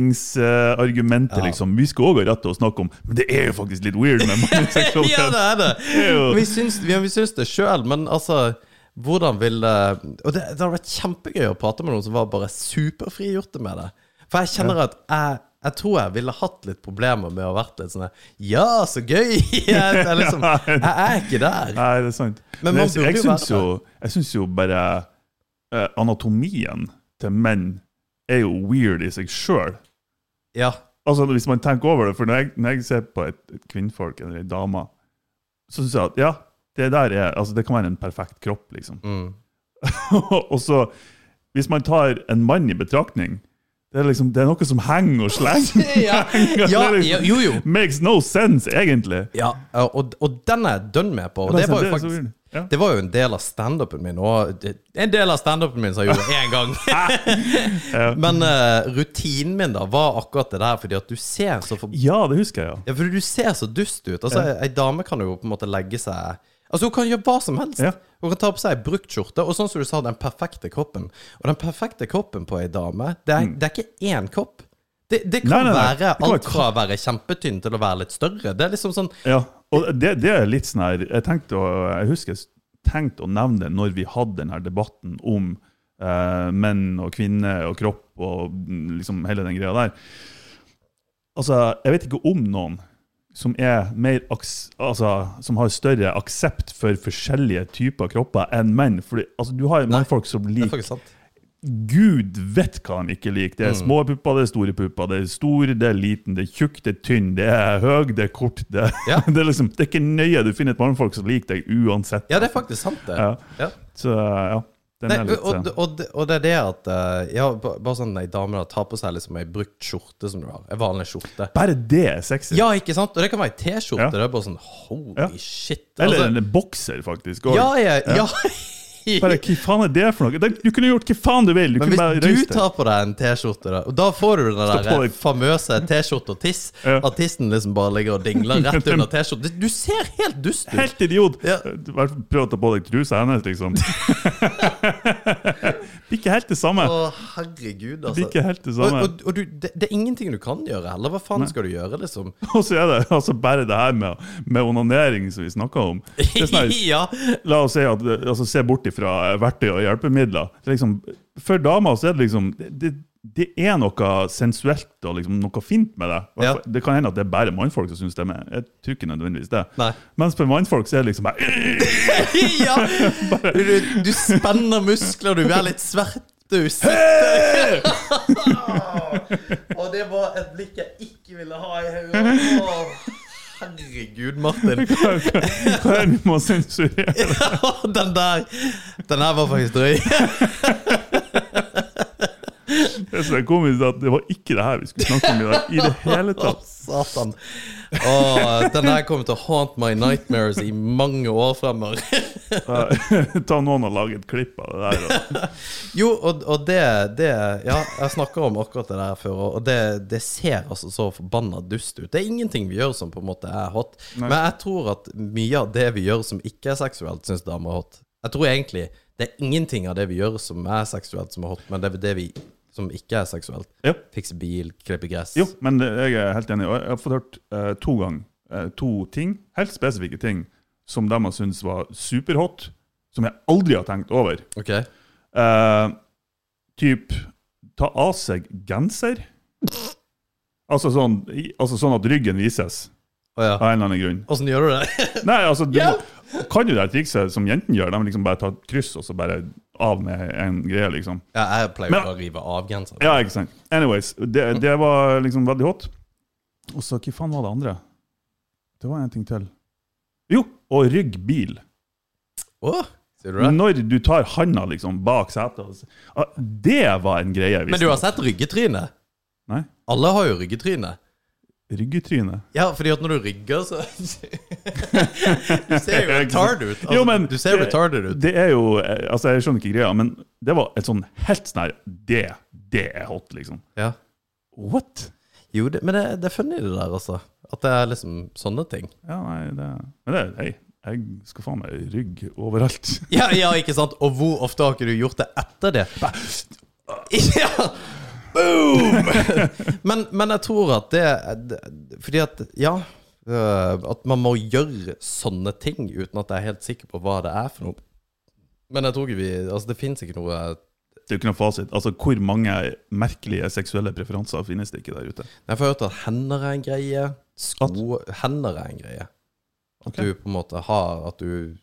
S2: likestillingsargumentet,
S1: Ja.
S2: liksom. Vi skal òg ha rett til å snakke om Men det er jo
S1: *laughs*
S2: faktisk litt weird med mannlig
S1: Ja,
S2: seksualitet.
S1: det er det!
S2: Det er jo-
S1: Vi syns, vi, vi syns det sjøl, men altså Hvordan ville Og det, det hadde vært kjempegøy å prate med noen som var bare superfrigjorte med det. For jeg kjenner at jeg, jeg tror jeg ville hatt litt problemer med å vært litt sånn Ja, så gøy! *laughs* Jeg, jeg, liksom, jeg er ikke der.
S2: Nei, det er sant.
S1: Men
S2: Men,
S1: man
S2: jeg, jeg,
S1: burde jo
S2: syns
S1: være
S2: jo, jeg syns jo bare eh, anatomien til menn er jo weird i seg sjøl.
S1: Ja.
S2: Altså, hvis man tenker over det, for når jeg, når jeg ser på et, et kvinnfolk eller ei dame, så syns jeg at ja, det der er, altså, det kan være en perfekt kropp, liksom.
S1: Mm.
S2: *laughs* og så, hvis man tar en mann i betraktning, det er, liksom, det er noe som henger og
S1: *laughs*
S2: slenger. *laughs* liksom
S1: Ja, ja, jo, jo.
S2: Makes no sense, egentlig.
S1: Ja, og, og den er jeg dønn med på. Og det var jo
S2: så
S1: faktisk
S2: weird. ja.
S1: det var jo en del av standupen min. Og det- en del av standupen min som jeg gjorde én
S2: *laughs*
S1: gang. Men eh, rutinen min da var akkurat det der, fordi at du ser så for...
S2: ja, det husker jeg, ja.
S1: Ja, fordi du ser så dust ut. Altså, Ei dame kan jo på en måte legge seg Altså, Hun kan gjøre hva som helst.
S2: Ja.
S1: Hun kan ta på seg ei brukt skjorte, og sånn som du sa, den perfekte kroppen. Og den perfekte kroppen på ei dame, det er, det er ikke én kropp. Det, det kan
S2: Mm. Nei, nei, nei.
S1: være
S2: Det kan være
S1: alt fra å være kjempetynn til å være litt større. Det er liksom sånn
S2: Ja, og det, det er litt sånn her Jeg tenkte å, jeg husker jeg s- tenkte å nevne det når vi hadde den her debatten om eh, menn og kvinner og kropp og mm, liksom hele den greia der. Altså, jeg vet ikke om noen som er mer aks, altså, som har større aksept for forskjellige typer kropper enn menn. Fordi, altså, du har mannfolk som
S1: Det er
S2: liker
S1: faktisk sant.
S2: Gud vet hva han ikke liker. Det
S1: Mm.
S2: er små pupper, det er store pupper. Det er stor, det er liten, det er tjukk, det er tynn, det er høy, det er kort. Det,
S1: Ja.
S2: *laughs* det, er, liksom, det er ikke nøye. Du finner et mannfolk som liker deg uansett.
S1: Ja, det er faktisk sant, det.
S2: Ja.
S1: Ja.
S2: Så ja, den
S1: Nei,
S2: er
S1: og,
S2: litt eh,
S1: og, og, og det er det at eh, Ja, ba- bare sånn ei dame da tar på seg liksom ei brukt skjorte som du har. Ei vanlig skjorte.
S2: Bare det er sexy.
S1: Ja, ikke sant? Og det kan være ei T-skjorte.
S2: Ja.
S1: Det er bare sånn holy
S2: Ja.
S1: shit.
S2: Eller
S1: altså,
S2: en bokser, faktisk. og-
S1: ja, jeg, ja.
S2: *laughs* Bare, hva faen er det for noe? Det- Du kunne gjort hva faen du vil. Du
S1: *laughs* Men
S2: kunne bare
S1: hvis
S2: reist
S1: du
S2: deg.
S1: tar på deg en T-skjorte, da, og da får du den
S2: Stå på
S1: der
S2: deg.
S1: famøse T-skjorte og tiss,
S2: Ja.
S1: at tissen liksom bare ligger og dingler
S2: *laughs*
S1: rett under T-skjorten Du ser helt dust ut.
S2: Helt idiot! Eh,
S1: Ja.
S2: Du bare Prøv å ta på deg trusa hennes,
S1: *laughs*
S2: liksom. *laughs* Det blir ikke helt det samme.
S1: Å, herregud,
S2: Det blir
S1: altså.
S2: ikke helt det
S1: Og,
S2: samme.
S1: og, og du, det, det er ingenting du kan gjøre heller. Hva faen skal du gjøre, liksom?
S2: *laughs* Og så er det altså bare det her med, med onanering som vi snakka om. Det er sånn her,
S1: *laughs* ja.
S2: la oss si at, altså, se bort ifra verktøy og hjelpemidler. Det er liksom, for damer så er det liksom det, det, det er noe sensuelt og liksom noe fint med det.
S1: Ja.
S2: Det kan hende at det er bare mannfolk som syns det, men jeg tror ikke nødvendigvis det.
S1: Nei.
S2: Mens for mannfolk så er det liksom bare *laughs*
S1: ja. Du, du spenner muskler, du er litt svertus. Og det var et blikk jeg ikke ville ha i hodet. Å, Herregud, Martin.
S2: Hva hva er det vi må sensurere?
S1: Den der Den her var faktisk drøy.
S2: Det er så komisk at det var ikke det her vi skulle snakke om i dag. I det hele
S1: Å, *laughs*
S2: tatt.
S1: satan. Å, den her kommer til å haunt my nightmares i mange år fremover.
S2: Ta noen og lage et klipp av det der. og-
S1: Jo, og, og det, det Ja, jeg snakka om akkurat det der før, og det, det ser altså så forbanna dust ut. Det er ingenting vi gjør som på en måte er hot, men jeg tror at mye av det vi gjør som ikke er seksuelt, syns damer er hot. Jeg tror egentlig det er ingenting av det vi gjør som er seksuelt, som er hot, men det er det vi som ikke er seksuelt.
S2: Ja.
S1: Fikse bil, klippe gress.
S2: Jo, men det- jeg er helt enig. Og jeg har fått hørt eh, to ganger eh, to ting, helt spesifikke ting, som de har syntes var superhot, som jeg aldri har tenkt over.
S1: Ok.
S2: Eh, typ ta av seg genser. Altså sånn, i- altså sånn at ryggen vises,
S1: Å ja.
S2: av en eller annen grunn.
S1: Åssen gjør du det? *laughs*
S2: Nei, altså, du må, kan jo det trikset som jentene gjør. De liksom bare tar et kryss, og så bare av med en greie, liksom.
S1: Ja, jeg pleier
S2: Men-
S1: bare å rive av genseren.
S2: Ja, ikke sant. Anyways, det, det var liksom veldig hot. Og så, hva faen var det andre? Det var en ting til. Jo, og rygg bil.
S1: Å, sier du det?
S2: Når du tar handa liksom bak setet. og så- Ah, Det var en greie.
S1: Men du har sett ryggetrynet?
S2: Nei.
S1: Alle har jo ryggetryne.
S2: Ryggetryne.
S1: Ja, fordi at når du rygger, så *laughs* Du ser jo retard ut. Altså,
S2: Jo, men
S1: du ser
S2: det-
S1: retarded ut.
S2: Det er jo eh, Altså, jeg skjønner ikke greia, men det var et sånn helt sånn her Det, det er hot, liksom.
S1: Ja.
S2: What?
S1: Jo, det, men det, det er funny, det der, altså. At det er liksom sånne ting.
S2: Ja, nei, det Men det Hei, jeg skal faen meg rygg overalt.
S1: Ja, *laughs* ja, ikke sant? Og hvor ofte har ikke du gjort det etter det? *laughs* Ja! Boom! *laughs* Men, men jeg tror at det, det Fordi at Ja. øh, At man må gjøre sånne ting uten at jeg er helt sikker på hva det er for noe. Men jeg tror ikke vi Altså, det fins ikke noe
S2: Det er jo ikke noe fasit. Altså, Hvor mange merkelige seksuelle preferanser finnes det ikke der ute?
S1: Jeg får hørt at hender er en greie. Sko Hender er en greie. At
S2: Ok.
S1: du på en måte har At du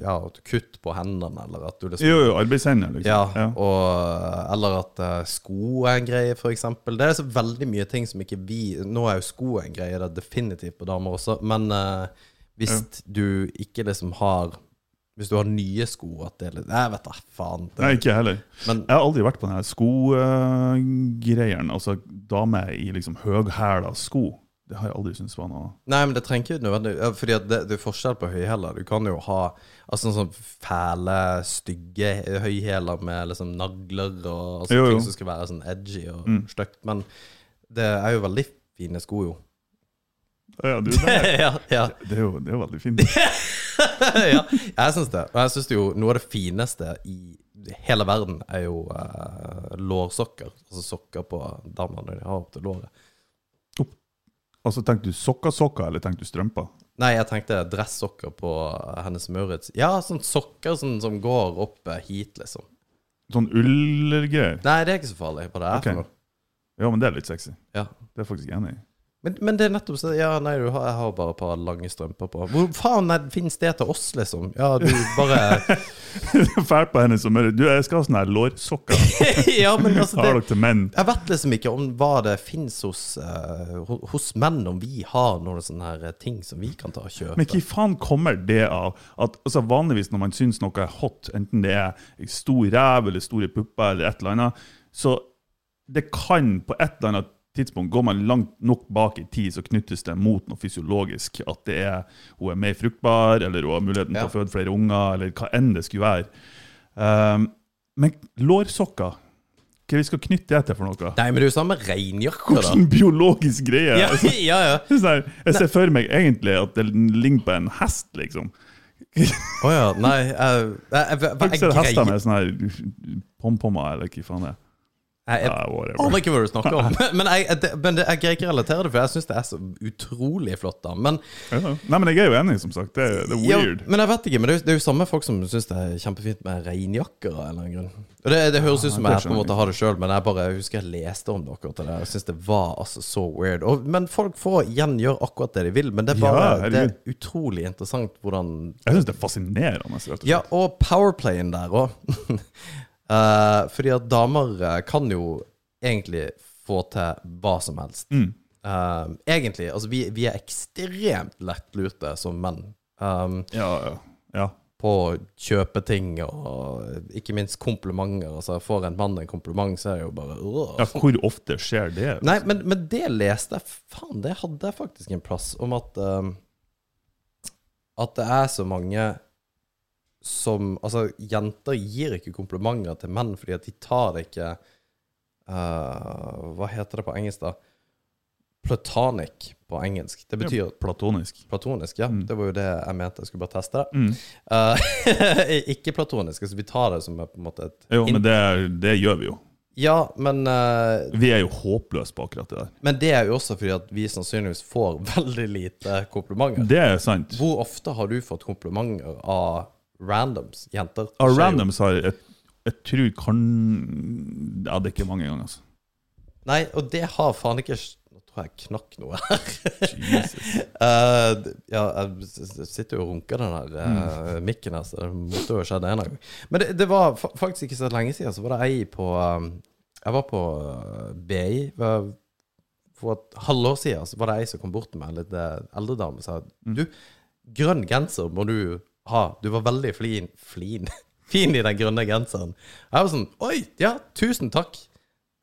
S1: Ja, at du kutter på hendene, eller at du liksom
S2: Jo, jo, arbeidshender, liksom.
S1: Ja, og, eller at eh, sko er en greie, for eksempel. Det er så veldig mye ting som ikke vi Nå er jo sko en greie, det er definitivt på damer også, men eh, hvis du ikke liksom har Hvis du har nye sko, at det er litt Jeg vet da faen. Det,
S2: Nei, ikke jeg heller.
S1: men
S2: Jeg har aldri vært på den her skogreieren. Altså damer i liksom høghæla sko. Det har jeg aldri syntes var noe
S1: Nei, men det trenger ikke nødvendig ja, Fordi at det, det er forskjell på høyhæler. Du kan jo ha altså, sånn fæle, stygge høyhæler med liksom nagler og altså,
S2: Jo, jo. Mm.
S1: ting som skal være sånn edgy og stygt. Men det er jo veldig fine sko,
S2: *laughs*
S1: jo.
S2: ja, du, det, er,
S1: ja, ja,
S2: det, er jo, det er jo veldig fint.
S1: ja. Jeg syns det. Og jeg syns jo noe av det fineste i hele verden er jo eh, lårsokker. Altså sokker på damene når de har opp til låret.
S2: Altså, Tenkte du sokker-sokker, eller tenkte du strømper?
S1: Nei, jeg tenkte dressokker på eh, Hennes Maurits. Ja, sånn sokker sånn, som går opp eh, hit, liksom.
S2: Sånn ullgreier?
S1: Nei, det er ikke så farlig. Hva det er
S2: Ok.
S1: for noe.
S2: Ja, men det er litt sexy.
S1: Ja.
S2: Det er jeg faktisk enig i. *laughs*
S1: Men, men det er nettopp så Ja, nei, du har, jeg har bare et par lange strømper på. Hvor faen er- finnes det til oss, liksom? Ja, du *laughs* bare
S2: Fælt på henne som er Du, jeg skal ha sånne her lårsokker.
S1: *laughs* Ja, men altså
S2: Har
S1: det,
S2: dere til menn?
S1: Jeg vet liksom ikke om hva det fins hos, eh, ho- hos menn, om vi har noen sånne her eh, ting som vi kan ta og kjøpe.
S2: Men hva faen kommer det av? At, altså Vanligvis når man syns noe er hot, enten det er stor ræv eller store pupper eller et eller annet, så det kan på et eller annet tidspunkt Går man langt nok bak i tid, så knyttes det mot noe fysiologisk. At det er, hun er mer fruktbar, eller hun har muligheten til
S1: Ja.
S2: å føde flere unger, eller hva enn det skulle være. Ehm, men lårsokker, hva vi skal knytte det til for noe?
S1: Nei, men det er jo samme reinjakke, da.
S2: Hvordan biologisk greie?
S1: Ja,
S2: Altså,
S1: ja, ja.
S2: *laughs* det er sånn her, jeg ser for meg egentlig at det ligner på en hest, liksom.
S1: Å ja. Nei, jeg, jeg, jeg,
S2: Folk
S1: jeg,
S2: ser hester
S1: greier-
S2: med sånne sånn her pompommer, eller hva faen det er.
S1: jeg, jeg
S2: Ja, whatever.
S1: aner ikke hva du snakker om. *laughs* Men jeg, jeg, det- men det- jeg greier ikke å relatere det, for jeg syns det er så utrolig flott. da. Men,
S2: Ja. Nei, men jeg er jo enig, som sagt. Det er, det er
S1: ja,
S2: weird.
S1: men jeg vet ikke, men det er, jo- det er jo samme folk som syns det er kjempefint med reinjakker. av en eller annen grunn. Og Det, det høres ut som jeg på
S2: det
S1: en
S2: skjønner jeg.
S1: måte har det sjøl, men jeg bare husker jeg leste om dere til det. Jeg syns det var altså så weird. Og, men folk får igjen gjøre akkurat det de vil. Men det er bare
S2: Ja, herregud.
S1: det er utrolig interessant hvordan
S2: Jeg syns det er fascinerende. rett og slett.
S1: Ja, og powerplayen der òg. *laughs* fordi at damer eh, kan jo egentlig få til hva som helst.
S2: Mm.
S1: Eh, egentlig. Altså, vi, vi er ekstremt lettlurte som menn. Um,
S2: Ja, ja. ja.
S1: på å kjøpe ting og ikke minst komplimenter. Altså, får en mann en kompliment, så er det jo bare øh.
S2: ja hvor ofte skjer det?
S1: Nei, men, men det leste jeg Faen, det hadde jeg faktisk en plass om at um, At det er så mange som Altså, jenter gir ikke komplimenter til menn fordi at de tar det ikke uh, Hva heter det på engelsk, da? Platonic på engelsk. Det betyr
S2: Platonisk.
S1: platonisk, ja. Det var jo det jeg mente. Jeg skulle bare teste det.
S2: Mm.
S1: Eh, *laughs* ikke platonisk, altså vi tar det som er på en måte et
S2: Jo, men det, det gjør vi jo.
S1: Ja, men, eh,
S2: Vi er jo håpløse på akkurat det der.
S1: men det er jo også fordi at vi sannsynligvis får *laughs* veldig lite komplimenter.
S2: Det er sant.
S1: Hvor ofte har du fått komplimenter av randoms jenter?
S2: Av
S1: Skjer jo-
S2: randoms har jeg, jeg tror kan Ja, det er ikke mange ganger, altså.
S1: Nei, og det har faen ikke Nå tror jeg jeg knakk noe her. *laughs*
S2: Jesus.
S1: Eh, d- ja, jeg s- s- sitter jo og runker den her eh, mikken her, så det måtte jo ha skjedd en eller annen gang. Men det, det var fa faktisk ikke så lenge siden, så var det ei på eh, Jeg var på eh, BI var- for et halvår siden, så var det ei som kom bort til meg, en litt eh, eldre dame, og sa Du, grønn genser må du ha. Du var veldig flin Flin? *laughs* Fin i den grønne genseren. Jeg var sånn Oi, ja, tusen takk.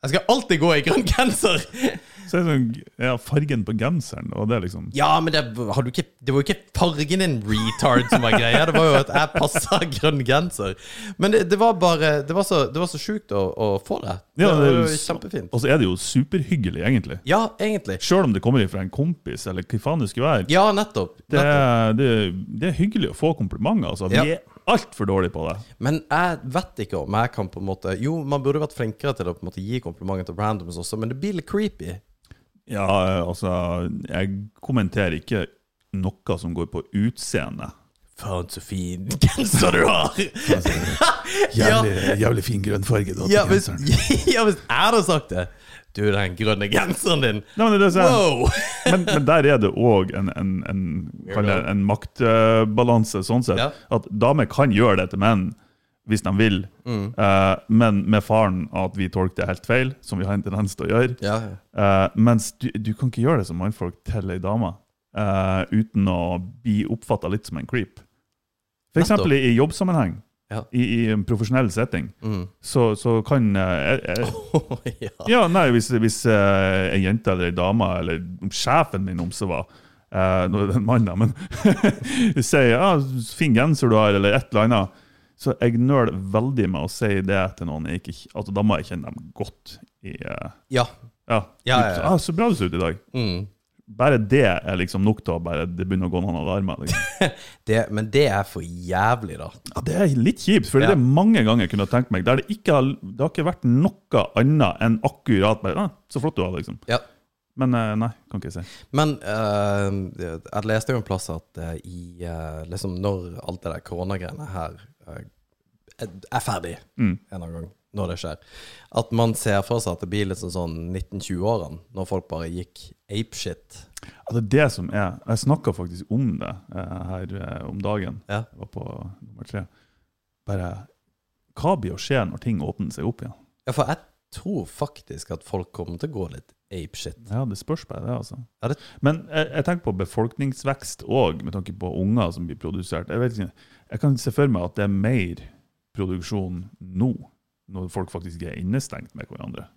S1: Jeg skal alltid gå i grønn genser!
S2: Så er det sånn, ja, fargen på genseren, og det er liksom
S1: Ja, men det, har du ikke, det var jo ikke fargen din, retard, som var greia. Det var jo at jeg passa grønn genser. Men det, det var bare Det var så, det var så sjukt å, å få det. Det
S2: Ja, det er jo
S1: var jo
S2: s-
S1: kjempefint.
S2: Og så er det jo superhyggelig, egentlig.
S1: Ja, egentlig.
S2: Sjøl om det kommer fra en kompis, eller hva faen det skulle være.
S1: Ja, nettopp.
S2: Det,
S1: nettopp.
S2: det, det er hyggelig å få komplimenter, altså.
S1: Ja.
S2: Vi er altfor dårlige på det.
S1: Men jeg vet ikke om jeg kan på en måte Jo, man burde vært flinkere til å på en måte gi komplimenter til randoms også, men det blir litt creepy.
S2: Ja, altså Jeg kommenterer ikke noe som går på utseende
S1: Faen, så fin genser du har! *laughs*
S3: Jævlig, jævlig fin grønnfarge. du har på
S1: Ja, hvis,
S3: genseren.
S1: *laughs* ja, hvis jeg hadde sagt det Du, den grønne genseren din
S2: Nei, men, det er det, som er-
S1: Wow!
S2: men, men der er det òg en, en, en, kall det en maktbalanse, sånn sett.
S1: Ja.
S2: At damer kan gjøre det til menn hvis de vil,
S1: Mm.
S2: Eh, men med faren at vi tolker det helt feil, som vi har en tendens til å gjøre.
S1: Ja,
S2: Eh, mens du, du kan ikke gjøre det som mannfolk til ei dame eh, uten å bli oppfatta litt som en creep. For
S1: Nettopp.
S2: eksempel i, i jobbsammenheng,
S1: Ja.
S2: i, i en profesjonell setting,
S1: Mm.
S2: så, så kan eh, jeg- jeg-
S1: *laughs* ja.
S2: ja, nei, hvis, hvis eh, ei jente eller ei dame, eller om sjefen min omse var eh, Nå er det en mann, da, men *laughs* sier ja, 'fin genser du har', eller et eller annet, så jeg nøler veldig med å si det til noen. Jeg ikke, altså, da må jeg kjenne dem godt. I, eh,
S1: ja.
S2: ja,
S1: Ja,
S2: typ,
S1: ja, ja.
S2: Ah, 'Så bra du ser ut i dag'.
S1: Mm.
S2: Bare det er liksom nok til å bare, det begynner å gå noen alarmer. Liksom.
S1: Det, men det er for jævlig, da.
S2: Ja, det er litt kjipt, for
S1: Ja.
S2: det er mange ganger jeg kunne tenkt meg der det ikke har, det har ikke vært noe annet enn akkurat bare, ah, 'Så flott du har', liksom.
S1: Ja.
S2: Men eh, nei, kan ikke jeg si.
S1: Men eh, jeg leste jo en plass at eh, i eh, liksom når alt det der koronagreiene her eh, er er ferdig
S2: Mm.
S1: en eller annen gang, når det skjer, at man ser for seg at det blir litt sånn sånn 1920-årene, når folk bare gikk apeshit.
S2: Ja, det er det som er. Jeg snakka faktisk om det eh, her eh, om dagen.
S1: Ja.
S2: Jeg var på nummer tre. Bare Hva blir å skje når ting åpner seg opp igjen?
S1: Ja, for jeg tror faktisk at folk kommer til å gå litt apeshit.
S2: Ja, Det spørs bare, det. altså.
S1: Ja, det-
S2: Men jeg, jeg tenker på befolkningsvekst òg, med tanke på unger som blir produsert. Jeg, vet ikke, jeg kan se for meg at det er mer produksjon nå, når folk faktisk er innestengt med hverandre.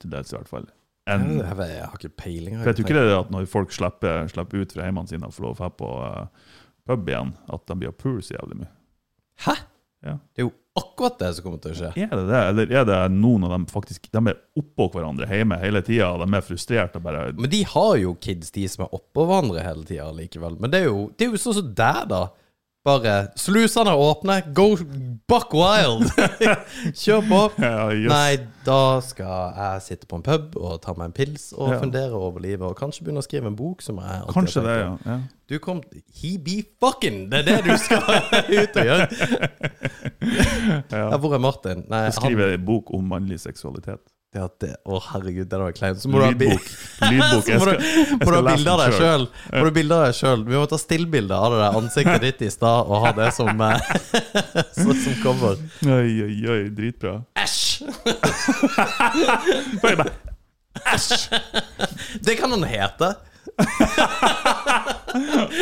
S2: Til dels, i hvert fall.
S1: Jeg,
S2: Enn
S1: vet- jeg har ikke peiling.
S2: For jeg tror ikke det er at når folk slipper, slipper ut fra hjemmene sine og får lov å dra på eh, pub igjen, at de blir poor så jævlig mye.
S1: Hæ?
S2: Ja.
S1: Det er jo akkurat det som kommer til å skje.
S2: Er det det, eller er det nå når de faktisk de er oppå hverandre hjemme hele tida, og de er frustrerte og bare
S1: Men de har jo kids, de som er oppå hverandre hele tida likevel. Men det er jo, det er jo sånn som der, da. Bare slusene er åpne, go buck wild! *laughs* Kjør på!
S2: *laughs* ja, jøss.
S1: Nei, da skal jeg sitte på en pub og ta meg en pils og
S2: Ja.
S1: fundere over livet, og kanskje begynne å skrive en bok som jeg alltid har
S2: Kanskje
S1: tenkt
S2: det,
S1: på.
S2: ja. ja.
S1: Du kom He be fucking! Det er det du skal *laughs* ut og gjøre.
S2: *laughs*
S1: Ja, hvor er Martin? Nei, han
S2: Skrive en bok om mannlig seksualitet.
S1: ja, det, Å, herregud, den var klein. Så må du ha *laughs* bi-
S2: Lydbok. Lydbok.
S1: Så
S2: Jeg
S1: må du,
S2: skal, jeg
S1: må du
S2: skal
S1: ha
S2: lese
S1: bilde av
S2: den
S1: deg
S2: selv.
S1: sjøl. Må du ha bilde av deg selv. Vi må ta stillbilde av det der ansiktet ditt i stad og ha det som, eh, *laughs* så- som cover.
S2: Oi, oi, oi. Dritbra.
S1: Æsj!
S2: Bare- bare-
S1: Det kan han hete.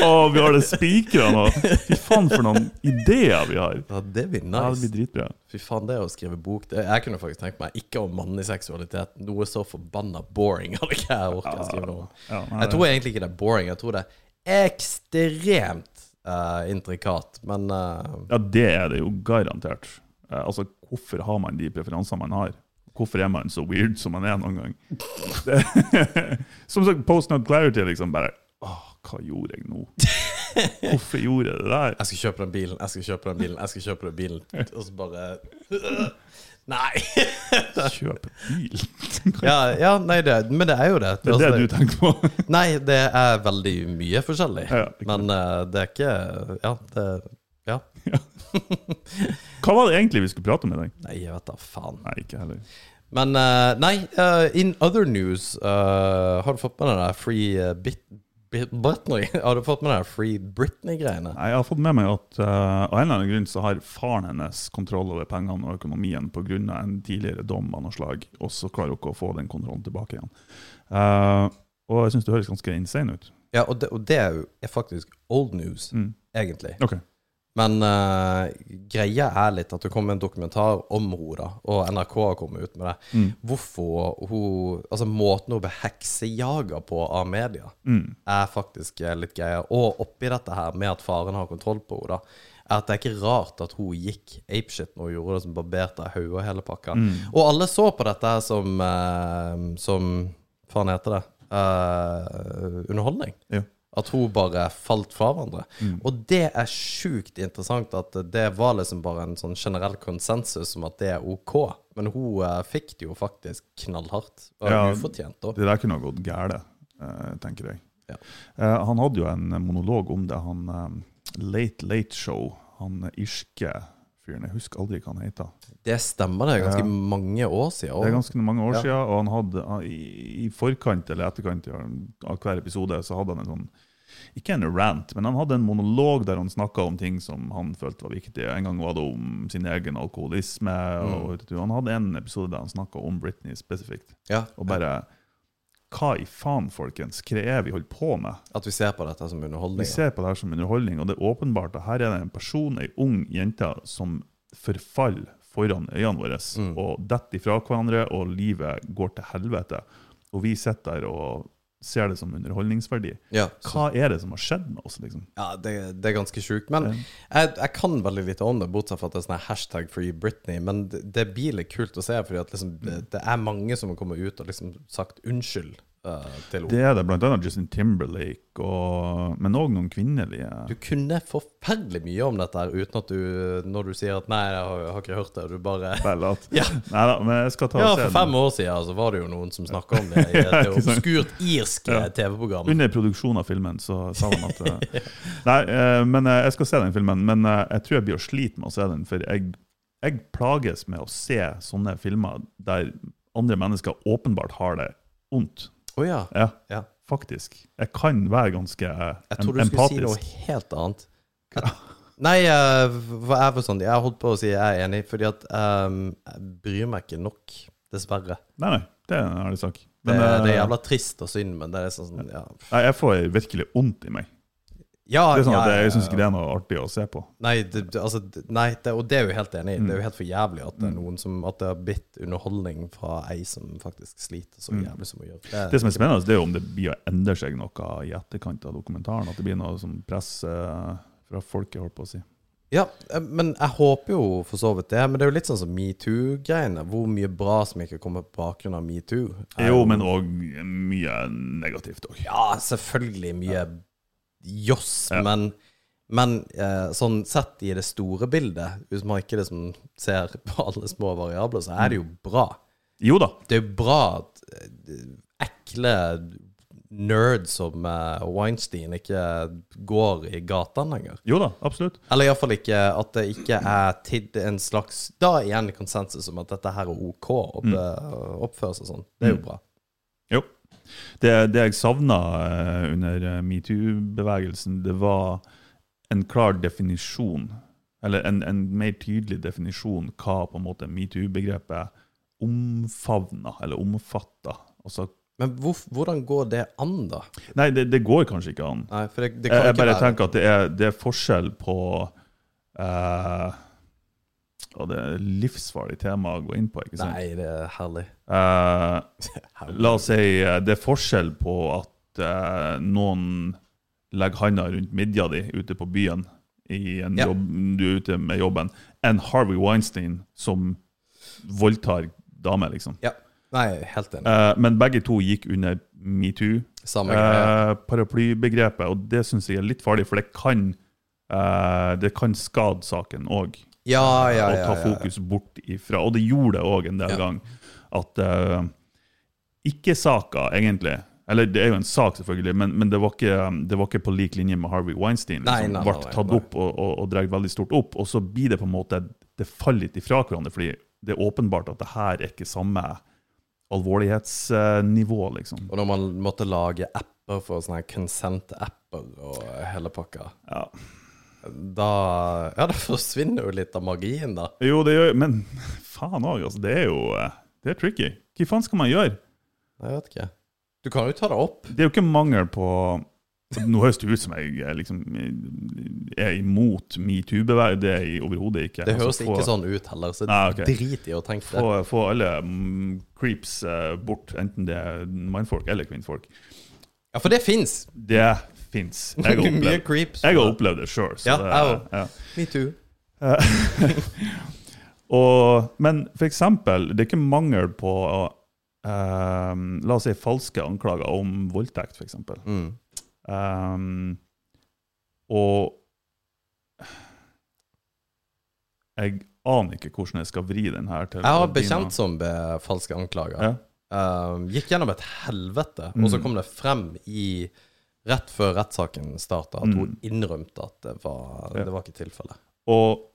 S2: Å, vi har det spikra nå! Fy faen, for noen ideer vi har.
S1: Ja, det blir
S2: Ja, det
S1: nice.
S2: blir dritbra.
S1: Fy faen, det å skrive bok det, Jeg kunne faktisk tenkt meg ikke om mannlig seksualitet. Noe så forbanna boring *laughs* hadde ikke jeg orket å skrive noe om.
S2: Ja, nei,
S1: Jeg tror egentlig ikke det er boring. Jeg tror det er ekstremt eh, intrikat, men eh,
S2: Ja, det er det jo garantert. Eh, altså, hvorfor har man de preferansene man har? Hvorfor er man så weird som man er noen gang? *laughs* Det- som sagt, Post Not Clarity liksom bare Åh, hva gjorde jeg
S1: *laughs*
S2: nå? Hvorfor gjorde jeg det der?
S1: Jeg skal kjøpe den bilen, jeg skal kjøpe den bilen, jeg skal kjøpe den bilen. Og så bare *laughs* Nei!
S2: Kjøp bil!
S1: *laughs* Ja, ja nei, det, men det er jo det.
S2: Det er det du
S1: Altså,
S2: tenker på?
S1: Nei, det er veldig mye forskjellig.
S2: Ja, ja, ikke
S1: men eh, det er ikke Ja, det Ja.
S2: Hva var det egentlig vi skulle prate om i dag?
S1: Nei, jeg vet da faen.
S2: Nei, ikke heller.
S1: Men eh, nei, eh, in other news eh, Har du fått med deg det der Free eh, bit, bit, Britney? *laughs* Har du fått med deg Free Britney-greiene?
S2: Nei, Jeg har fått med meg at eh, av en eller annen grunn så har faren hennes kontroll over pengene og økonomien pga. en tidligere dom av noe slag, og så klarer hun ikke å få den kontrollen tilbake igjen. Eh, og jeg syns det høres ganske insane ut.
S1: Ja, og det, og det er jo er faktisk old news,
S2: Mm.
S1: egentlig.
S2: Ok.
S1: Men eh, greia er litt at det kom en dokumentar om henne, da, og NRK har kommet ut med det.
S2: Mm.
S1: Hvorfor hun Altså, måten hun ble heksejaga på av media,
S2: Mm.
S1: er faktisk eh, litt greia. Og oppi dette her med at faren har kontroll på henne, da, er at det er ikke rart at hun gikk apeshit når hun gjorde det, som barberte hodet og hele pakka.
S2: Mm.
S1: Og alle så på dette her som eh, Som faen heter det? Eh, underholdning.
S2: Ja.
S1: At hun bare falt fra hverandre.
S2: Mm.
S1: Og det er sjukt interessant at det var liksom bare en sånn generell konsensus om at det er OK. Men hun eh, fikk det jo faktisk knallhardt. Og
S2: Ja.
S1: ufortjent, da.
S2: Det der kunne ha gått gæle, eh, tenker jeg.
S1: Ja.
S2: Eh, han hadde jo en monolog om det, han, eh, Late Late Show. Han irske fyren. Jeg husker aldri hva han heter.
S1: Det stemmer, det er ganske
S2: Ja.
S1: mange år siden.
S2: Det er
S1: også.
S2: ganske mange år
S1: Ja.
S2: siden, og han hadde han- i, i forkant eller etterkant av- av hver episode så hadde han en sånn ikke en rant, men han hadde en monolog der han snakka om ting som han følte var viktige. En gang var det om sin egen alkoholisme.
S1: Mm.
S2: Og, Han hadde en episode der han snakka om Britney spesifikt.
S1: Ja,
S2: Og bare Hva i faen, folkens? Hva er det vi holder på med?
S1: At vi ser på dette som underholdning.
S2: Vi ser på det her som underholdning, og det er åpenbart at her er det en person, ei ung jente, som forfaller foran øynene våre
S1: Mm.
S2: og detter ifra hverandre, og livet går til helvete. Og vi sitter der og ser det som underholdningsverdi.
S1: Ja, så-
S2: Hva er det som har skjedd med oss, liksom?
S1: ja det, det er ganske sjukt. Men jeg, jeg kan veldig lite om det, bortsett fra at det er sånn her hashtag free Britney. Men det, det blir litt kult å se, fordi at liksom,
S2: Mm.
S1: det, det er mange som har kommet ut og liksom sagt unnskyld eh, til henne.
S2: Det er det blant annet Justin Timberlake, og, men òg noen kvinnelige
S1: Du kunne forferdelig mye om dette her uten at du, når du sier at nei, jeg har, jeg har ikke hørt det, du bare
S2: Vel, at,
S1: Ja.
S2: Neida, men jeg skal ta og
S1: Ja,
S2: se
S1: for
S2: den.
S1: fem år siden så var det jo noen som snakka om det i
S2: *laughs* Ja,
S1: et
S2: ikke sant.
S1: obskurt irsk eh, TV-program.
S2: Under produksjonen av filmen så sa
S1: *laughs*
S2: han at eh, Nei, eh, men eh, jeg skal se den filmen, men eh, jeg tror jeg blir å slite med å se den, for jeg, jeg plages med å se sånne filmer der andre mennesker åpenbart har det vondt.
S1: Å ja.
S2: Ja,
S1: ja.
S2: faktisk. Jeg kan være ganske eh,
S1: Jeg
S2: em-
S1: trodde du skulle si
S2: empatisk.
S1: noe helt annet. Jeg, nei, eh, hva er for sånn? Jeg har holdt på å si jeg er enig, fordi at ehm, jeg bryr meg ikke nok, dessverre.
S2: Nei, nei, det er en ærlig sak.
S1: Det, er- det er
S2: eh,
S1: jævla trist og synd, men det er sånn sånn, ja.
S2: nei, jeg får virkelig vondt i meg.
S1: ja
S2: Det er sånn
S1: ja,
S2: at
S1: ja,
S2: Jeg,
S1: ja.
S2: jeg syns ikke det er noe artig å se på.
S1: Nei, det, det- altså, det- nei det, og det er jo helt enig i. Det er
S2: Mm.
S1: jo helt for jævlig at det er noen som At det har blitt underholdning fra ei som faktisk sliter så jævlig som hun gjør.
S2: Mm. Det som er spennende, det er jo om det blir å endre seg noe i etterkant av dokumentaren. At det blir noe som press eh, fra folket, holdt på å si.
S1: Ja, eh, men jeg håper jo for så vidt det. Men det er jo litt sånn som metoo-greiene. Hvor mye bra som ikke kommer på bakgrunn av metoo. er
S2: Jo, men òg mye negativt òg.
S1: Ja, selvfølgelig mye joss, men, men eh, sånn sett i det store bildet, hvis man ikke liksom ser på alle små variabler, så er det jo
S2: Mm.
S1: bra.
S2: Jo da.
S1: Det er jo bra at eh, ekle nerds som eh, Weinstein ikke går i gatene lenger.
S2: Jo da, absolutt.
S1: Eller iallfall ikke at det ikke er tid en slags Da igjen konsensus om at dette her er OK å opp,
S2: Mm.
S1: oppføre seg sånn. Det er jo bra.
S2: Jo. Det, det jeg savna eh, under eh, metoo-bevegelsen, det var en klar definisjon, eller en, en mer tydelig definisjon, hva på en måte metoo-begrepet omfavna, eller omfatta. Altså,
S1: Men hvor, hvordan går det an, da?
S2: nei, det, det går kanskje ikke an.
S1: Nei, for det, det
S2: Jeg,
S1: kan
S2: jeg
S1: ikke
S2: Eh, bare
S1: være
S2: tenker at det er, det er forskjell på eh, Og det er livsfarlig tema å gå inn på, ikke sant?
S1: Nei, det er
S2: *laughs*
S1: herlig.
S2: Eh,
S1: herlig.
S2: la oss si eh, det er forskjell på at eh, noen legger handa rundt midja di ute på byen i en
S1: Ja.
S2: jobb, du er ute med jobben, enn Harvey Weinstein som voldtar damer, liksom.
S1: Ja. Nei, helt enig.
S2: Eh, men begge to gikk under metoo.
S1: Samme greie.
S2: Eh, paraplybegrepet, og det syns jeg er litt farlig, for det kan eh, det kan skade saken òg.
S1: Ja, ja,
S2: og
S1: ja.
S2: ta
S1: ja, ja.
S2: fokus bort ifra. Og det gjorde det òg en del
S1: Ja.
S2: ganger. At eh, ikke saka, egentlig. Eller det er jo en sak, selvfølgelig, men, men det, var ikke, det var ikke på lik linje med Harvey Weinstein.
S1: Nei,
S2: Liksom,
S1: nei, nei,
S2: ble
S1: nei,
S2: tatt
S1: nei.
S2: opp og, og, og dratt veldig stort opp. Og så blir det på en måte Det faller litt ifra hverandre, fordi det er åpenbart at det her er ikke samme alvorlighetsnivå, liksom.
S1: Og når man måtte lage apper for sånne her consent-apper og hele pakka,
S2: Ja.
S1: da Ja, da forsvinner jo litt av magien, da.
S2: Jo, det gjør Men faen òg, altså. Det er jo eh, Det er tricky. Hva faen skal man gjøre?
S1: Jeg vet ikke. Du kan jo ta det opp.
S2: Det er jo ikke mangel på Nå høres det ut som jeg eh, liksom eh, er imot metoo-bevegelsen. Det er jeg overhodet ikke.
S1: Det høres
S2: Altså, få-
S1: ikke sånn ut heller, så
S2: Nei, ok.
S1: drit i å tenke det.
S2: Få, få alle mm, creeps eh, bort, enten det er mannfolk eller kvinnfolk.
S1: Ja, for det fins!
S2: Det fins.
S1: *laughs*
S2: Jeg har
S1: Mye
S2: opplevd,
S1: creeps.
S2: jeg har opplevd det sjøl.
S1: Ja, jeg
S2: ja. *laughs*
S1: Metoo.
S2: Og, men for eksempel, det er ikke mangel på ehm, La oss si falske anklager om voldtekt, for eksempel.
S1: Mm.
S2: Ehm, og Jeg aner ikke hvordan jeg skal vri den her til
S1: Jeg har
S2: Albina.
S1: bekjent som ved falske anklager. Ehm,
S2: Ja. Mm.
S1: Um, gikk gjennom et helvete, og så kom det frem i rett før rettssaken starta, at hun innrømte at det var,
S2: Mm. Ja.
S1: det var ikke tilfellet.
S2: Og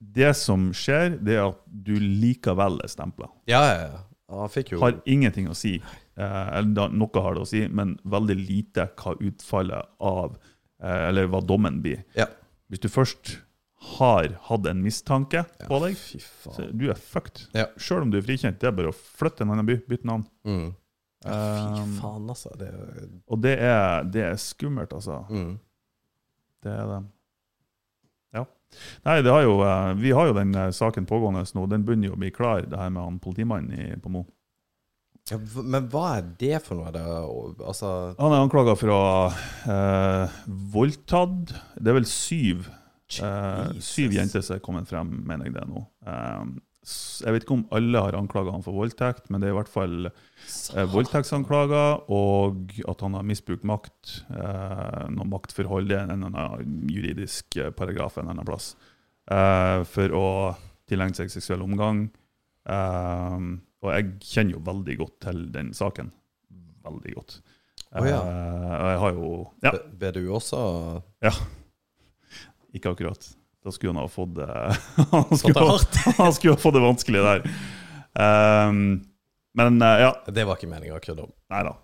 S2: det som skjer, det er at du likevel er stempla.
S1: Ja, ja, ja. Han fikk jo
S2: Har ingenting å si. Eh, eller da, noe har det å si, men veldig lite hva utfallet av eh, Eller hva dommen blir.
S1: Ja.
S2: Hvis du først har hatt en mistanke på deg,
S1: Fy
S2: så
S1: faen.
S2: du er fucked.
S1: Ja.
S2: Sjøl om du er frikjent. Det er bare å flytte til en annen by, bytte navn.
S1: Mm. Fy
S2: Eh,
S1: faen, altså. Det er
S2: og det er, det er skummelt, altså.
S1: mm.
S2: Det er det. Ja. Nei, det har jo, eh, vi har jo den eh, saken pågående nå. Den begynner jo å bli klar, det her med han politimannen i, på Mo.
S1: ja, hva- Men hva er det for noe? Det, er- altså
S2: Han er anklaga for å ha eh, voldtatt Det er vel syv, eh,
S1: Jesus.
S2: syv jenter som er kommet frem, mener jeg det nå. Eh, s- jeg vet ikke om alle har anklaga han for voldtekt, men det er i hvert fall eh, voldtektsanklager og at han har misbrukt makt. Eh, noe maktforhold det er en eller annen juridisk eh, paragraf en eller annen plass. Eh, for å tilegne seg seksuell omgang. Eh, og jeg kjenner jo veldig godt til den saken. Veldig godt.
S1: Å ja.
S2: Eh, og jeg har jo Ja,
S1: Be- Ber du også
S2: ikke akkurat. Da skulle han ha fått det *laughs* han,
S1: fått det
S2: skulle,
S1: hardt?
S2: han skulle ha fått det vanskelig der. Eh, men eh, ja,
S1: Det var ikke meninga å kødde om.
S2: Nei da.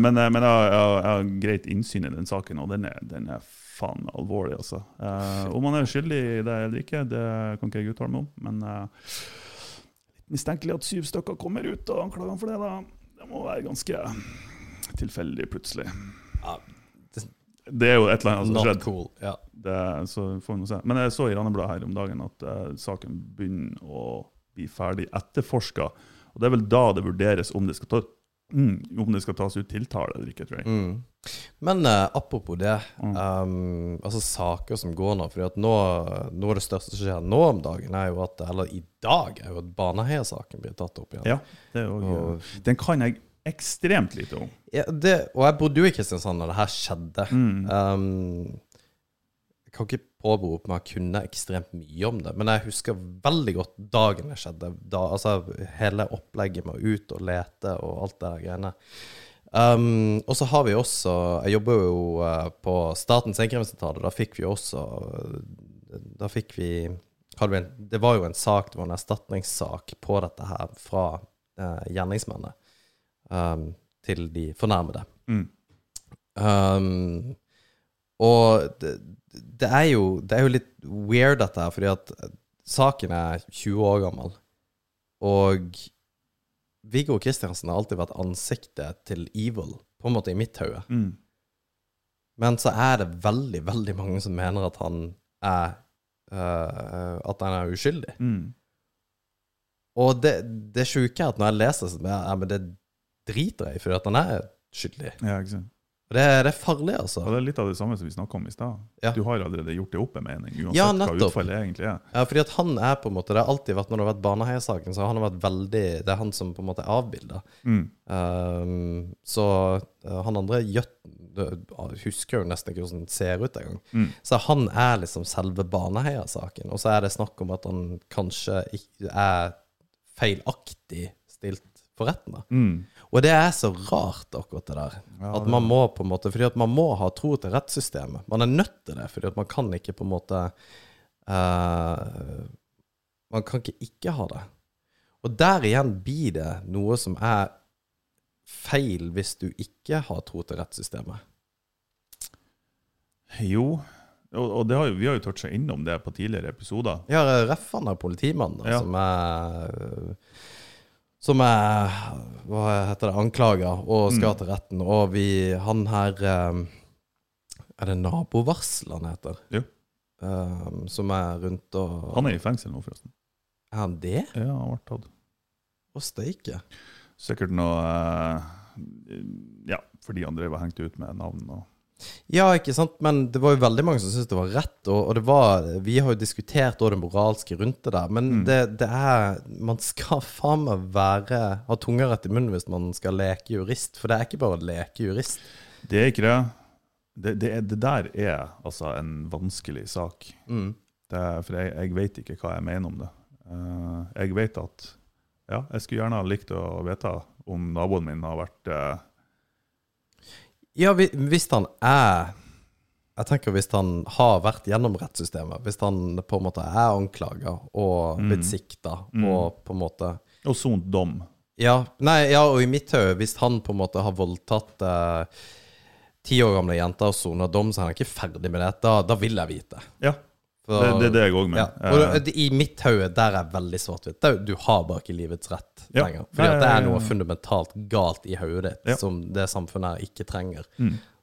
S2: men eh, men jeg, har- jeg, har- jeg har greit innsyn i den saken, og den er, den er faen alvorlig, altså. Eh, om han er skyldig i det eller ikke, det kan ikke jeg uttale meg om, men eh, litt mistenkelig at syv stykker kommer ut og anklager han for det, da. Det må være ganske tilfeldig, plutselig.
S1: Ja,
S2: Det er jo et eller annet som
S1: not
S2: har skjedd.
S1: cool. Ja.
S2: Det, så får vi nå se. Men jeg så i Randebladet her om dagen at eh, saken begynner å bli ferdig etterforska. Og det er vel da det vurderes om det skal, ta, mm, om det skal tas ut tiltale eller ikke, tror jeg.
S1: Mm. Men eh, apropos det,
S2: Mm.
S1: ehm, altså saker som går nå fordi at nå, nå er det største som skjer nå om dagen, er jo at, eller i dag, er jo at Baneheia-saken blir tatt opp igjen.
S2: Ja, det er jo,
S1: Og-
S2: Den kan jeg ekstremt lite om.
S1: Ja, det, og jeg bodde jo i Kristiansand da det her skjedde.
S2: Mm.
S1: Ehm, jeg kan ikke påberope meg å kunne ekstremt mye om det, men jeg husker veldig godt dagen det skjedde. Da, altså hele opplegget med å ut og lete og alt det der greiene. Ehm, og så har vi også Jeg jobber jo eh, på Statens innkrevingssentral, og da fikk vi også eh, Da fikk vi hadde vi en, Det var jo en sak, det var en erstatningssak på dette her fra eh, gjerningsmennene ehm, til de fornærmede.
S2: Mm.
S1: Um, og det, det, er jo, det er jo litt weird dette her, fordi at saken er 20 år gammel. Og Viggo Kristiansen har alltid vært ansiktet til Evil, på en måte i mitt hode.
S2: Mm.
S1: Men så er det veldig, veldig mange som mener at han er eh, At han er uskyldig.
S2: Mm.
S1: Og det, det sjuke er at når jeg leser det, så bare, ja, men det driter jeg i, fordi at han er skyldig.
S2: Ja, ikke sant?
S1: Og det, det er farlig, altså.
S2: Og det er litt av det samme som vi snakka om i stad.
S1: Ja.
S2: Du har allerede gjort det opp en mening, uansett
S1: Ja,
S2: hva
S1: nettopp.
S2: utfallet egentlig er.
S1: Ja, fordi at han er på en måte Det har alltid vært når det har vært Baneheia-saken, så har han vært veldig Det er han som på en måte er avbilda.
S2: Mm.
S1: Ehm, så eh, han andre Jøtten eh, husker jo nesten ikke hvordan han ser ut engang.
S2: Mm.
S1: Så han er liksom selve Baneheia-saken. Og så er det snakk om at han kanskje ikke er feilaktig stilt for retten. da.
S2: Mm.
S1: Og det er så rart, akkurat det der.
S2: Ja,
S1: At man må på en måte Fordi at man må ha tro til rettssystemet. Man er nødt til det, fordi at man kan ikke på en måte eh, Man kan ikke ikke ha det. Og der igjen blir det noe som er feil hvis du ikke har tro til rettssystemet.
S2: Jo, og, og det har, jo- vi har jo toucha innom det på tidligere episoder.
S1: Jeg har Reffan er politimannen, da,
S2: Ja.
S1: som er Som er Hva heter det? Anklaga og skal
S2: Mm.
S1: til retten. Og vi Han her eh, Er det nabovarsel han heter?
S2: Jo.
S1: Eh, som er rundt og
S2: Han er i fengsel nå, forresten.
S1: Er han det?
S2: Ja, han ble tatt.
S1: Å steike.
S2: Sikkert noe eh, Ja, fordi han drev og hengte ut med navn og
S1: Ja, ikke sant, men det var jo veldig mange som syntes det var rett, og, og det var Vi har jo diskutert også det moralske rundt det der, men
S2: Mm.
S1: det, det er Man skal faen meg være Ha tunga rett i munnen hvis man skal leke jurist, for det er ikke bare å leke jurist.
S2: Det er ikke det. Det, det, er, det der er altså en vanskelig sak.
S1: Mm.
S2: Det er, for jeg, jeg vet ikke hva jeg mener om det. Eh, jeg vet at Ja, jeg skulle gjerne ha likt å vite om naboen min har vært eh,
S1: Ja, hvi- hvis han er Jeg tenker hvis han har vært gjennom rettssystemet, hvis han på en måte er anklaga og blitt sikta og på en måte
S2: Og sont dom.
S1: Ja, nei, ja, og i mitt hode, hvis han på en måte har voldtatt eh, ti år gamle jenter og soner dom, så er han ikke ferdig med det. Da, da vil jeg vite.
S2: Ja,
S1: For-
S2: det, det er det jeg òg
S1: ja.
S2: mener. Eh,
S1: Og det- I mitt hode, der er jeg veldig svart-hvitt. Det er jo- Du har bare ikke livets rett
S2: Ja.
S1: lenger. Fordi at det
S2: Nei,
S1: er noe fundamentalt galt i hodet ditt
S2: Ja. Mm.
S1: som det samfunnet her ikke trenger.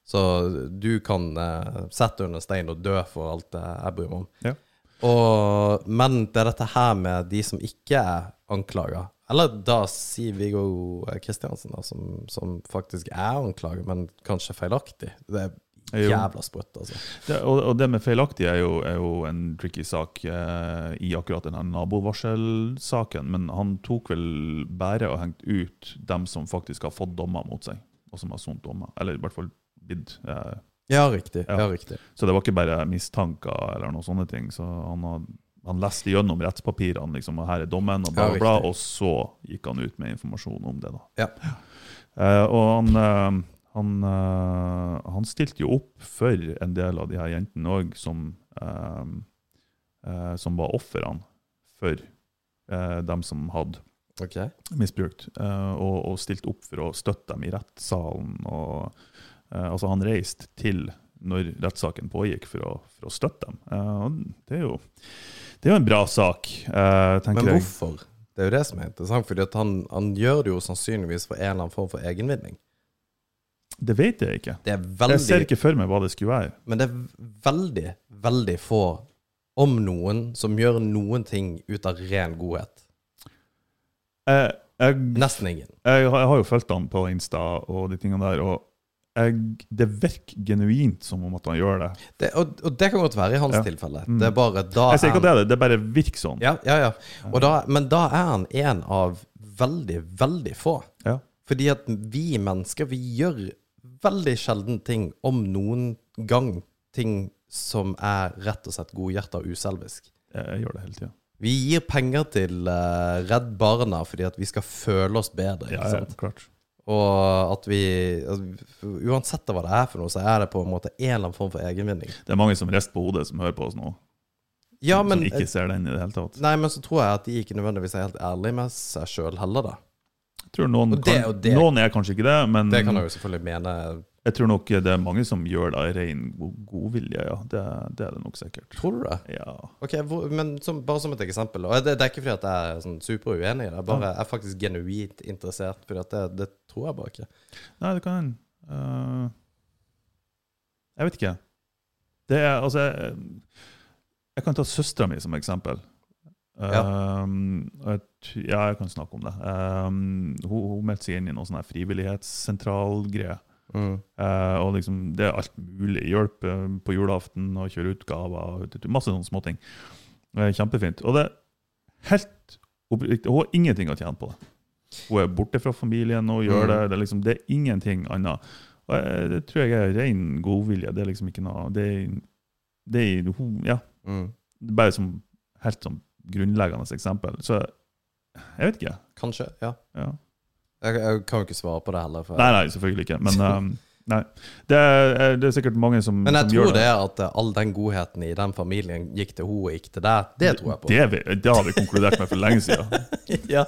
S1: Så du kan eh, sette under stein og dø for alt det jeg bryr meg om.
S2: Ja.
S1: Og, men det er dette her med de som ikke er anklaga. Eller da sier Viggo Kristiansen, da, som, som faktisk er anklaga, men kanskje feilaktig. Det er
S2: Jo.
S1: jævla sprøtt, altså.
S2: Det, og, og det med feilaktig er jo, er jo en tricky sak eh, i akkurat denne nabovarselsaken, men han tok vel bare og hengt ut dem som faktisk har fått dommer mot seg, og som har sont dommer, eller i hvert fall bidd. Eh,
S1: Ja, riktig.
S2: Ja.
S1: Ja, riktig.
S2: så det var ikke bare mistanker eller noen sånne ting. Så han, har, han leste gjennom rettspapirene, liksom, og her er dommen, og bla,
S1: Ja,
S2: bla, bla,
S1: riktig.
S2: og så gikk han ut med informasjon om det. da.
S1: Ja.
S2: Eh, og han, eh, han, eh, han stilte jo opp for en del av de her jentene òg, som, eh, eh, som var ofrene for eh, dem som hadde
S1: Ok.
S2: misbrukt, eh, og, og stilte opp for å støtte dem i rettssalen. Og, eh, altså han reiste til når rettssaken pågikk, for å, for å støtte dem. Eh, og det, er jo, det er jo en bra sak, eh, tenker
S1: Men
S2: jeg.
S1: hvorfor? Det er jo det som er interessant, fordi at han, han gjør det jo sannsynligvis for en eller annen form for egenvinning.
S2: Det vet jeg ikke.
S1: Det er
S2: Jeg ser
S1: veldig
S2: ikke for meg hva det skulle være.
S1: Men det er veldig, veldig få, om noen, som gjør noen ting ut av ren godhet.
S2: Eh, jeg
S1: Nesten ingen.
S2: jeg, har- jeg har jo fulgt han på Insta og de tingene der, og jeg, det virker genuint som om at han gjør det.
S1: Det, og, og det kan godt være i hans
S2: Ja.
S1: tilfelle.
S2: Mm.
S1: Det er bare da
S2: Jeg sier ikke at
S1: han-
S2: det er det, det bare virker sånn.
S1: Ah, Ja, ja, ja. Og da, men da er han en av veldig, veldig få.
S2: Ja.
S1: Fordi at vi mennesker, vi gjør veldig sjelden ting, om noen gang, ting som er rett og slett godhjerta og uselvisk.
S2: Jeg, jeg gjør det hele tida.
S1: Vi gir penger til eh, Redd Barna fordi at vi skal føle oss bedre.
S2: Ja,
S1: ikke
S2: ja,
S1: sant?
S2: klart.
S1: Og at vi altså, Uansett hva det er for noe, så er det på en måte en eller annen form for egenvinning.
S2: Det er mange som rister på hodet, som hører på oss nå,
S1: Ja, men,
S2: som ikke ser den i det hele tatt.
S1: nei, men så tror jeg at de ikke nødvendigvis er helt ærlige med seg sjøl heller, da.
S2: Jeg tror noen,
S1: Og det er
S2: kan,
S1: jo det-
S2: noen er kanskje ikke det, men
S1: Det kan jeg jo selvfølgelig mene.
S2: jeg tror nok det er mange som gjør det av ren go- godvilje. Ja. Det, det er det nok sikkert.
S1: Tror du det?
S2: Ja.
S1: Ok, hvor, men som, Bare som et eksempel. Og det, det er ikke fordi at jeg er sånn super uenig i det, jeg bare jeg er faktisk genuint interessert. Fordi at det, det tror jeg bare ikke.
S2: Nei, det kan hende. Eh, jeg vet ikke. Det er altså Jeg, jeg kan ta søstera mi som eksempel. Um, og jeg, t- ja, jeg kan snakke om det. Um, hun, hun meldte seg inn i noe sånn her frivillighetssentralgreie. Eh, og liksom, det er alt mulig. Hjelp eh, på julaften og kjøre ut gaver. og Masse sånne småting. Eh, Kjempefint. Og det er helt oppriktig. Hun har ingenting å tjene på det. Hun er borte fra familien og gjør
S1: Mm.
S2: det. Det er, liksom, det er ingenting annet. Og eh, det tror jeg er ren godvilje. Det er liksom ikke noe Det er, det er hun, ja,
S1: Mm.
S2: det er bare som helt sånn grunnleggende eksempel. Så jeg vet ikke.
S1: Kanskje. Ja.
S2: Ja.
S1: Jeg, jeg kan jo ikke svare på det heller. For
S2: Nei, nei, selvfølgelig ikke.
S1: *laughs*
S2: Men eh, nei. Det, er, eh, det er sikkert mange som,
S1: Men jeg
S2: som gjør
S1: tror det er at eh, all den godheten i den familien gikk til henne og ikke til deg. Det tror jeg på.
S2: Det, er vi- det har vi konkludert med for lenge siden.
S1: *laughs*
S2: *laughs*
S1: ja.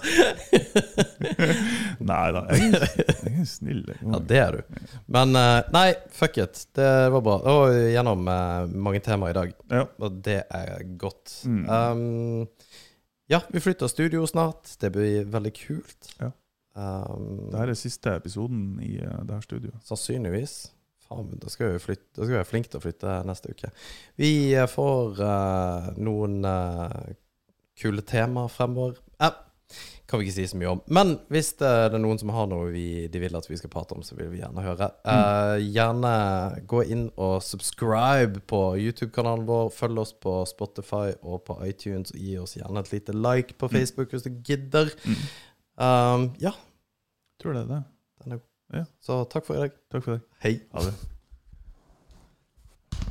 S2: Nei da, jeg,
S1: *laughs*
S2: jeg er snill. Jeg.
S1: ja, det er du. Men eh, nei, fuck it. Det var bra. Og gjennom eh, mange temaer i dag,
S2: Ja.
S1: og det er godt.
S2: Mm.
S1: Um, ja, vi flytter studio snart. Det blir veldig kult.
S2: Ja.
S1: Um,
S2: Dette er siste episoden i eh, det her studioet.
S1: Sannsynligvis. Faen, men da skal, vi flytte, da skal vi være flinke til å flytte neste uke. Vi eh, får eh, noen eh, kule temaer fremover. Eh, kan vi ikke si så mye om. Men hvis det, det er noen som har noe vi, de vil at vi skal prate om, så vil vi gjerne høre. Eh, gjerne gå inn og subscribe på YouTube-kanalen vår. Følg oss på Spotify og på iTunes. Og gi oss gjerne et lite like på Facebook hvis du gidder. Um, ja,
S2: Tror det er det.
S1: den er god.
S2: Ja.
S1: Så takk for i dag.
S2: Takk for i dag.
S1: Hei.
S2: Ha det.